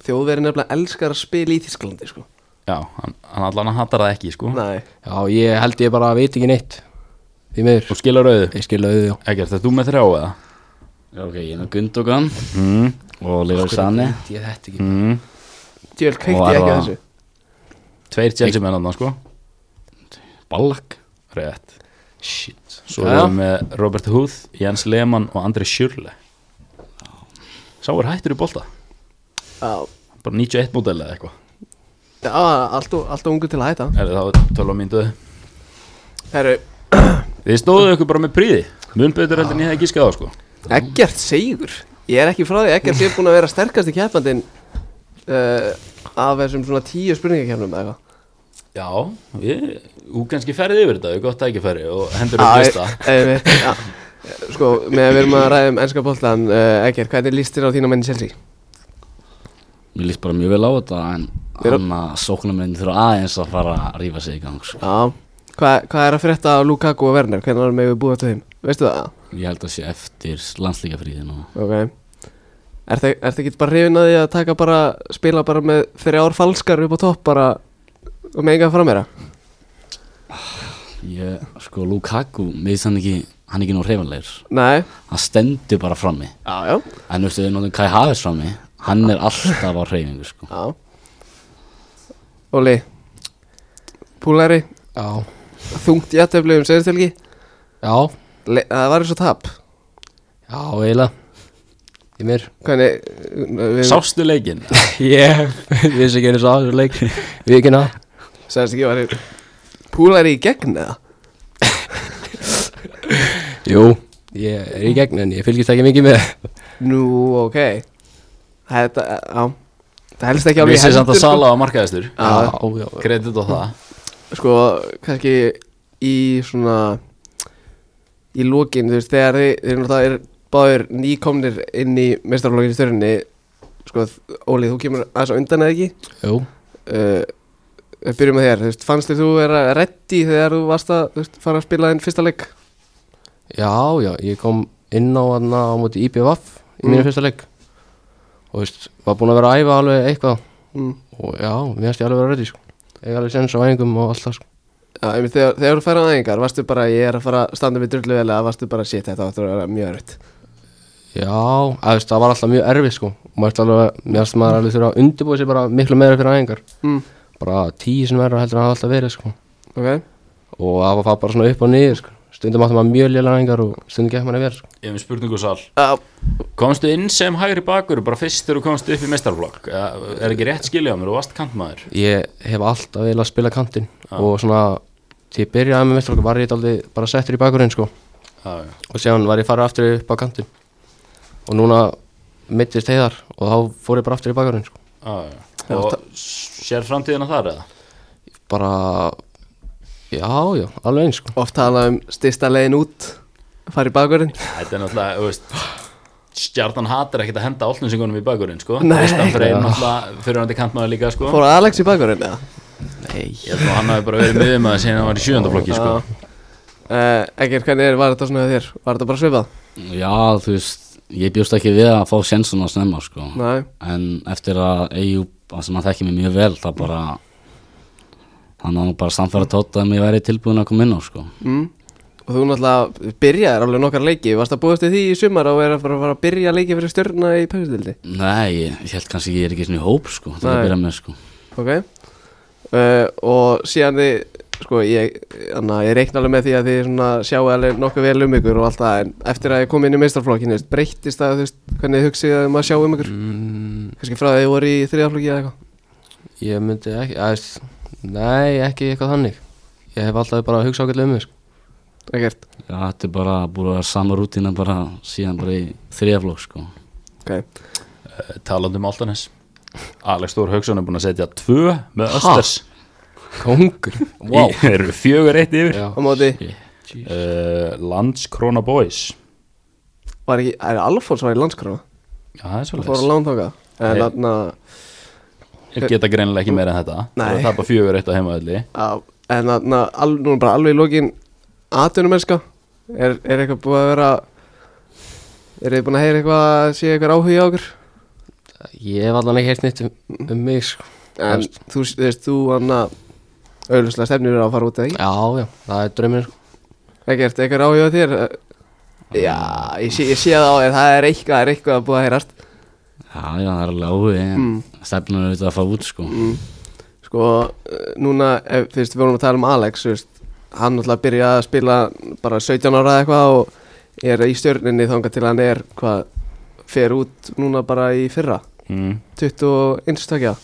S1: Þjóðverðin nefnilega elskar að spila í Þísklandi sko
S2: Já, hann, hann allan hattar það ekki sko
S1: Nei
S4: Já, ég held ég bara veit ekki neitt Því miður
S2: Þú skilur auðu
S4: Ég skil auðið já
S2: Ekkert, þetta þú með þrjá eða?
S3: Já, ok, ég er með Gundogan
S2: Mm.
S3: og Leifur Sani
S4: Ég veit þetta ekki
S2: Mm.
S1: Djöl kveikti
S3: Og
S1: ég
S3: er
S1: ekki á
S3: það-
S1: þessu
S2: Tveir Chelsea menn annað sko
S3: Ballack
S2: Rétt
S3: Shit
S2: Svo
S4: Jæja.
S2: erum við með Robert Huth, Jens Lehmann og Andri Schürrle Sá er hættur í bolta
S1: Já,
S2: Bara 91 mótel eða eitthvað
S1: já allt, of- allt of ungu til að hætta
S2: Er það þá 12 mínútu
S1: Herru,
S2: Þið stóðu ykkur bara með príði Mun betur heldur en ég hefði gískað á sko
S1: Eggert sigur Ég er ekki frá því, Eggert er búin að vera sterkasti keppandinn uh, af þessum svona tíu spurningakefnum eða eitthvað
S2: Já, ég, þú kannski ferði yfir þetta, við gott tækifæri og hendur upp
S1: Já,
S2: lista
S1: ég- einmitt, já. eh, Sko, meðan við erum að ræða um ennska boltan uh, Eggert, hvernig líst þér á þína menn í Chelsea?
S3: Mér líst bara mjög vel á þetta en
S1: Þeir-
S3: hann að sóknarmennin þurfa aðeins að fara að rífa sig í gang sko.
S1: Já, hvað hva er að frétta af Lukaku og Werner? Hvernig erum við búið til þeim? Veistu það?
S3: Ég held að sé eftir landslíkafríðin og
S1: Ok Er þetta ekki bara hrifin að því að taka bara spila bara með þrjár falskar upp á topp bara og með enga framera?
S3: ég, sko Lukaku, mér finnst hann ekki hann er ekki nú reyfanlegur,
S1: Nei
S3: hann stendur bara frammi
S1: Já, já
S3: en veistu, við notum Kai Havers frammi hann er alltaf á reyfingu sko.
S1: Já Óli Púlari
S4: Já
S1: Þungt jættefli um segjastelgi
S4: Já
S1: Það var eins og tap
S4: Já, eiginlega Því miður
S1: Hvernig við,
S2: Sástu leikinn
S4: Ég vissi ekki einu sá þessu leik Við ekki ná
S1: Sæðist ekki var Púlari í gegn eða?
S4: Jú Ég er í gegn en ég fylgist ekki mikið með
S1: Nú, ok Þetta, já Það helst ekki alveg í
S2: Vissi samt
S1: hendur,
S2: að
S1: sko.
S2: Sala á markaðistur
S1: Já.
S4: já, já.
S2: Kredit á það
S1: sko, kannski í svona í lokin, þú veist, þegar þið, þið náttúrulega er báðir nýkomnir inn í mestarflokkinu störunni sko, þ- Óli, þú kemur aðeins á undan eða ekki
S4: Jú
S1: uh, við byrjum með þér, þú veist, fannst þér þú vera reddi þegar þú varst að, þú veist, fara að spila þinn fyrsta leik?
S4: Já, já Ég kom inn á hann á móti IPVF Í
S1: Mm.
S4: mínu fyrsta leik Og veist Var búinn að vera að æfa alveg eitthvað
S1: Mm.
S4: Og já, mér finnst ég alveg vera ready sko Ég alveg sens á æfingum og allt það sko
S1: Já, einmitt, þegar, þegar þú færði á æfingar, varstu bara ég er að fara að standa með drullu vel eða varstu bara shit, þetta áttur að vera mjög erfitt
S4: Já, að veist, það var alltaf mjög erfið sko Mér finnst alveg, mér finnst maður alveg þurfa að undirbúið sér bara miklu meira fyrir æfingar
S1: mm.
S4: Bara tíu sem verður heldur en það hafa alltaf verið sko
S1: ok,
S4: Og það var- var bara svona upp og niður sko Stundum áttum maður mjög lélega æfingar og stundum gekk manni verið sko
S2: Ég hef með spurningu sal
S1: já,
S2: Komstu inn sem hægri bakur bara fyrst þegar þú komst upp í mestarflokk Er ekki rétt skilja á mér, þú varst kantmaður
S4: Ég hef alltaf vilja að spila kantinn Og svona til ég byrjaði með mestralokk var ég aldrei bara settur í bakurinn sko
S2: já, já.
S4: og séðan var ég farið aftur upp á kantinn og núna mittist heiðar og þá fór ég bara aftur í bakurinn sko
S2: Já, já. og sér framtíðina þar eða?
S4: bara já, já, alveg eins sko
S1: Oft tala um styrsta leiðin út Fari í bakurinn
S2: Þetta er náttúrulega, þú veist Stjartan hatar ekkert að henda állinsingunum í bakurinn sko
S1: Nei.
S2: Kristján Freyr náttúrulega fyrir hann til kantmaður líka sko
S1: Fór Alex í bakurinn eða?
S2: Ég held nú að hann hafi bara verið miðum að segja hann var í sjöndaflokki sko
S1: uh, Ekkert, hvernig er, var þetta svona hjá þér? Var þetta bara svipað?
S3: Já, þú veist, ég bjóst ekki við að fá sjensun að snemma, sko.
S1: Nei,
S3: En eftir að Eyjúb, sem hann þekki mig mjög vel, það bara, hann var nú bara samfæra tóta að ég væri tilbúin að koma inn á, sko.
S1: mm. Og þú náttúrulega byrjaðir alveg nokkar leiki Varst að búast við því í sumar og er að fara að, fara að byrja leiki fyrir stjörna í pæsildildi
S3: Nei, ég, ég held kannski ég er ekki svona í hóp, sko, til
S1: Nei.
S3: að byrja með, sko.
S1: Ok uh, Og síðan þið, sko, ég, anna, ég reikna alveg með því að þið svona sjáu alveg nokkuð vel um ykkur og allt það En eftir að ég kom inn í meistarflokkinu, þú veist, breyttist það, þú veist, hvernig þið hugsið að maður sjá um ykkur
S4: mm,
S1: Kannski frá því að þið voru í þriðaflokki eða eitthvað
S4: ég myndi ekki að, nei, ekki eitthvað þannig ég hef alltaf bara hugsað ágætlega um mig sko.
S1: Ekkert
S3: Já, þetta er bara búin að vera sama rútina bara síðan bara í þriðaflokk, sko.
S1: Ok
S2: Eh, Talandi um állinnes Alex Þór Hauksson er búin að setja tvö með Östers
S4: kongur
S2: wow. Í, eru fjögur eitt yfir
S4: Já.
S1: Á móti
S2: uh, Landskrona Boys
S1: var ekki, er Alfons var í landskrána
S2: Já, það er
S1: og fór
S2: svolítið
S1: að lánþanga en
S2: Nei.
S1: þarna
S2: Ég geta greinilega ekki meira en þetta
S1: Nei.
S2: Það er bara fjögur eitt á heimaðli
S1: á- en þarna, al, nú er bara alveg í lokin atvinnumennska er, er eitthvað búið að vera er þið búin að heyra eitthvað sé eitthvað áhugi á okkur
S4: ég hef allan ekki heilt nýtt um, um mig sko.
S1: en þú, þú veist, þú hann að auðvitað stefnir eru að fara út eða ekki
S4: já, já, það er draumir sko.
S1: ekkert, eitthvað áhugi á þér já, ég sé, ég sé það á þér það er eitthvað, það er eitthvað að búið að heyrast
S3: Já, já, það er alveg áhugi, en
S1: Mm.
S3: stefnum er auðvitað að fara út, sko.
S1: sko, eh, núna ef, þú veist, við vorum að tala um Alex þú veist, hann náttúrulega byrjaði að spila bara 17 ára eða eitthvað og er í stjörninni þangað til hann er hvað, fer út núna bara í fyrra
S2: mm.
S1: 21 stökja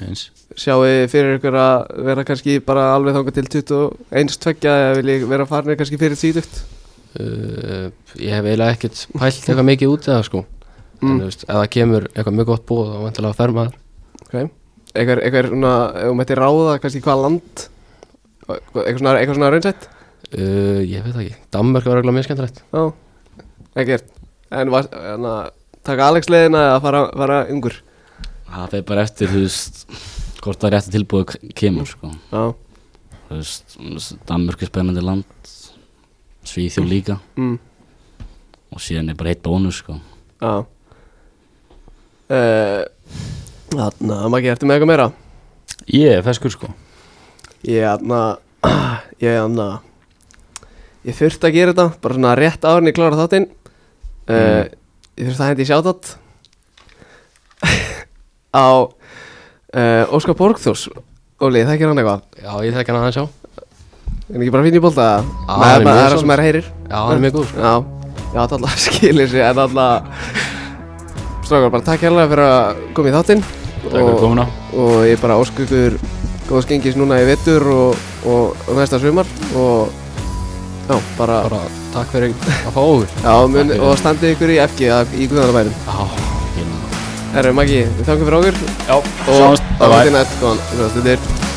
S2: Eins
S1: sjáu fyrir ykkur að vera kannski bara alveg þangað til 21 stökja eða vil ég vera farinir kannski fyrir títugt
S4: uh, ég hef eiginlega ekkert pælt eitthvað mikið út í það sko. en
S1: Mm.
S4: þú veist, ef það kemur eitthvað mjög gott búið þá vantilega að fer maður
S1: okay. eitthvað, eitthvað er svona, ef þú mætti ráða kannski hvað land eitthvað svona, eitthvað svona raunsætt
S4: uh, ég veit það ekki, Danmörk var eitthvað mjög skemmtilegt
S1: Já, ekkert En var, en að taka Alex leiðina eða fara, fara ungur
S3: Það fer bara eftir, þú veist, hvort það rétt tilbúið k- kemur, sko.
S1: Já,
S3: Þú veist, Danmörk er spennandi land, Svíþjóð líka
S1: mm,
S3: og síðan er bara eitt bónus, sko.
S1: já uh, Þarna, Maggi, ertu með eitthvað meira?
S2: Ég er feskur sko
S1: Ég, þarna Ég, þarna Ég þurfti að gera þetta, bara svona rétt árin ég klára þáttinn uh, Ég þurfti að hendi í sjátátt Á uh, Óskar Borgþórs Óli, þekkir hann eitthvað?
S4: já, ég þekki hann aðeins á
S1: Er hann ekki bara fín í bólta?
S4: Já,
S1: það er
S4: hann er
S1: bara- það
S4: mjög
S1: er það
S4: svolítið.
S1: sem maður heyrir
S4: já, hann er mjög góð sko.
S1: Já, já þetta alltaf skilir sig en alltaf Strákar, bara takk hérlega fyrir að koma í þáttinn
S2: Takk fyrir
S1: og,
S2: komuna
S1: og ég bara ósku ykkur góðs gengis núna í vettur og, og, og næsta sumar og já, bara,
S4: bara takk fyrir að fá okkur
S1: já, mun, og standið ykkur í FG að- í Guðanabærum
S3: Hérna.
S1: Herru, Maggi, við þakkum fyrir okkur
S2: Já,
S1: og
S2: sjáumst
S1: á viti nætt, góðan, góðan stundir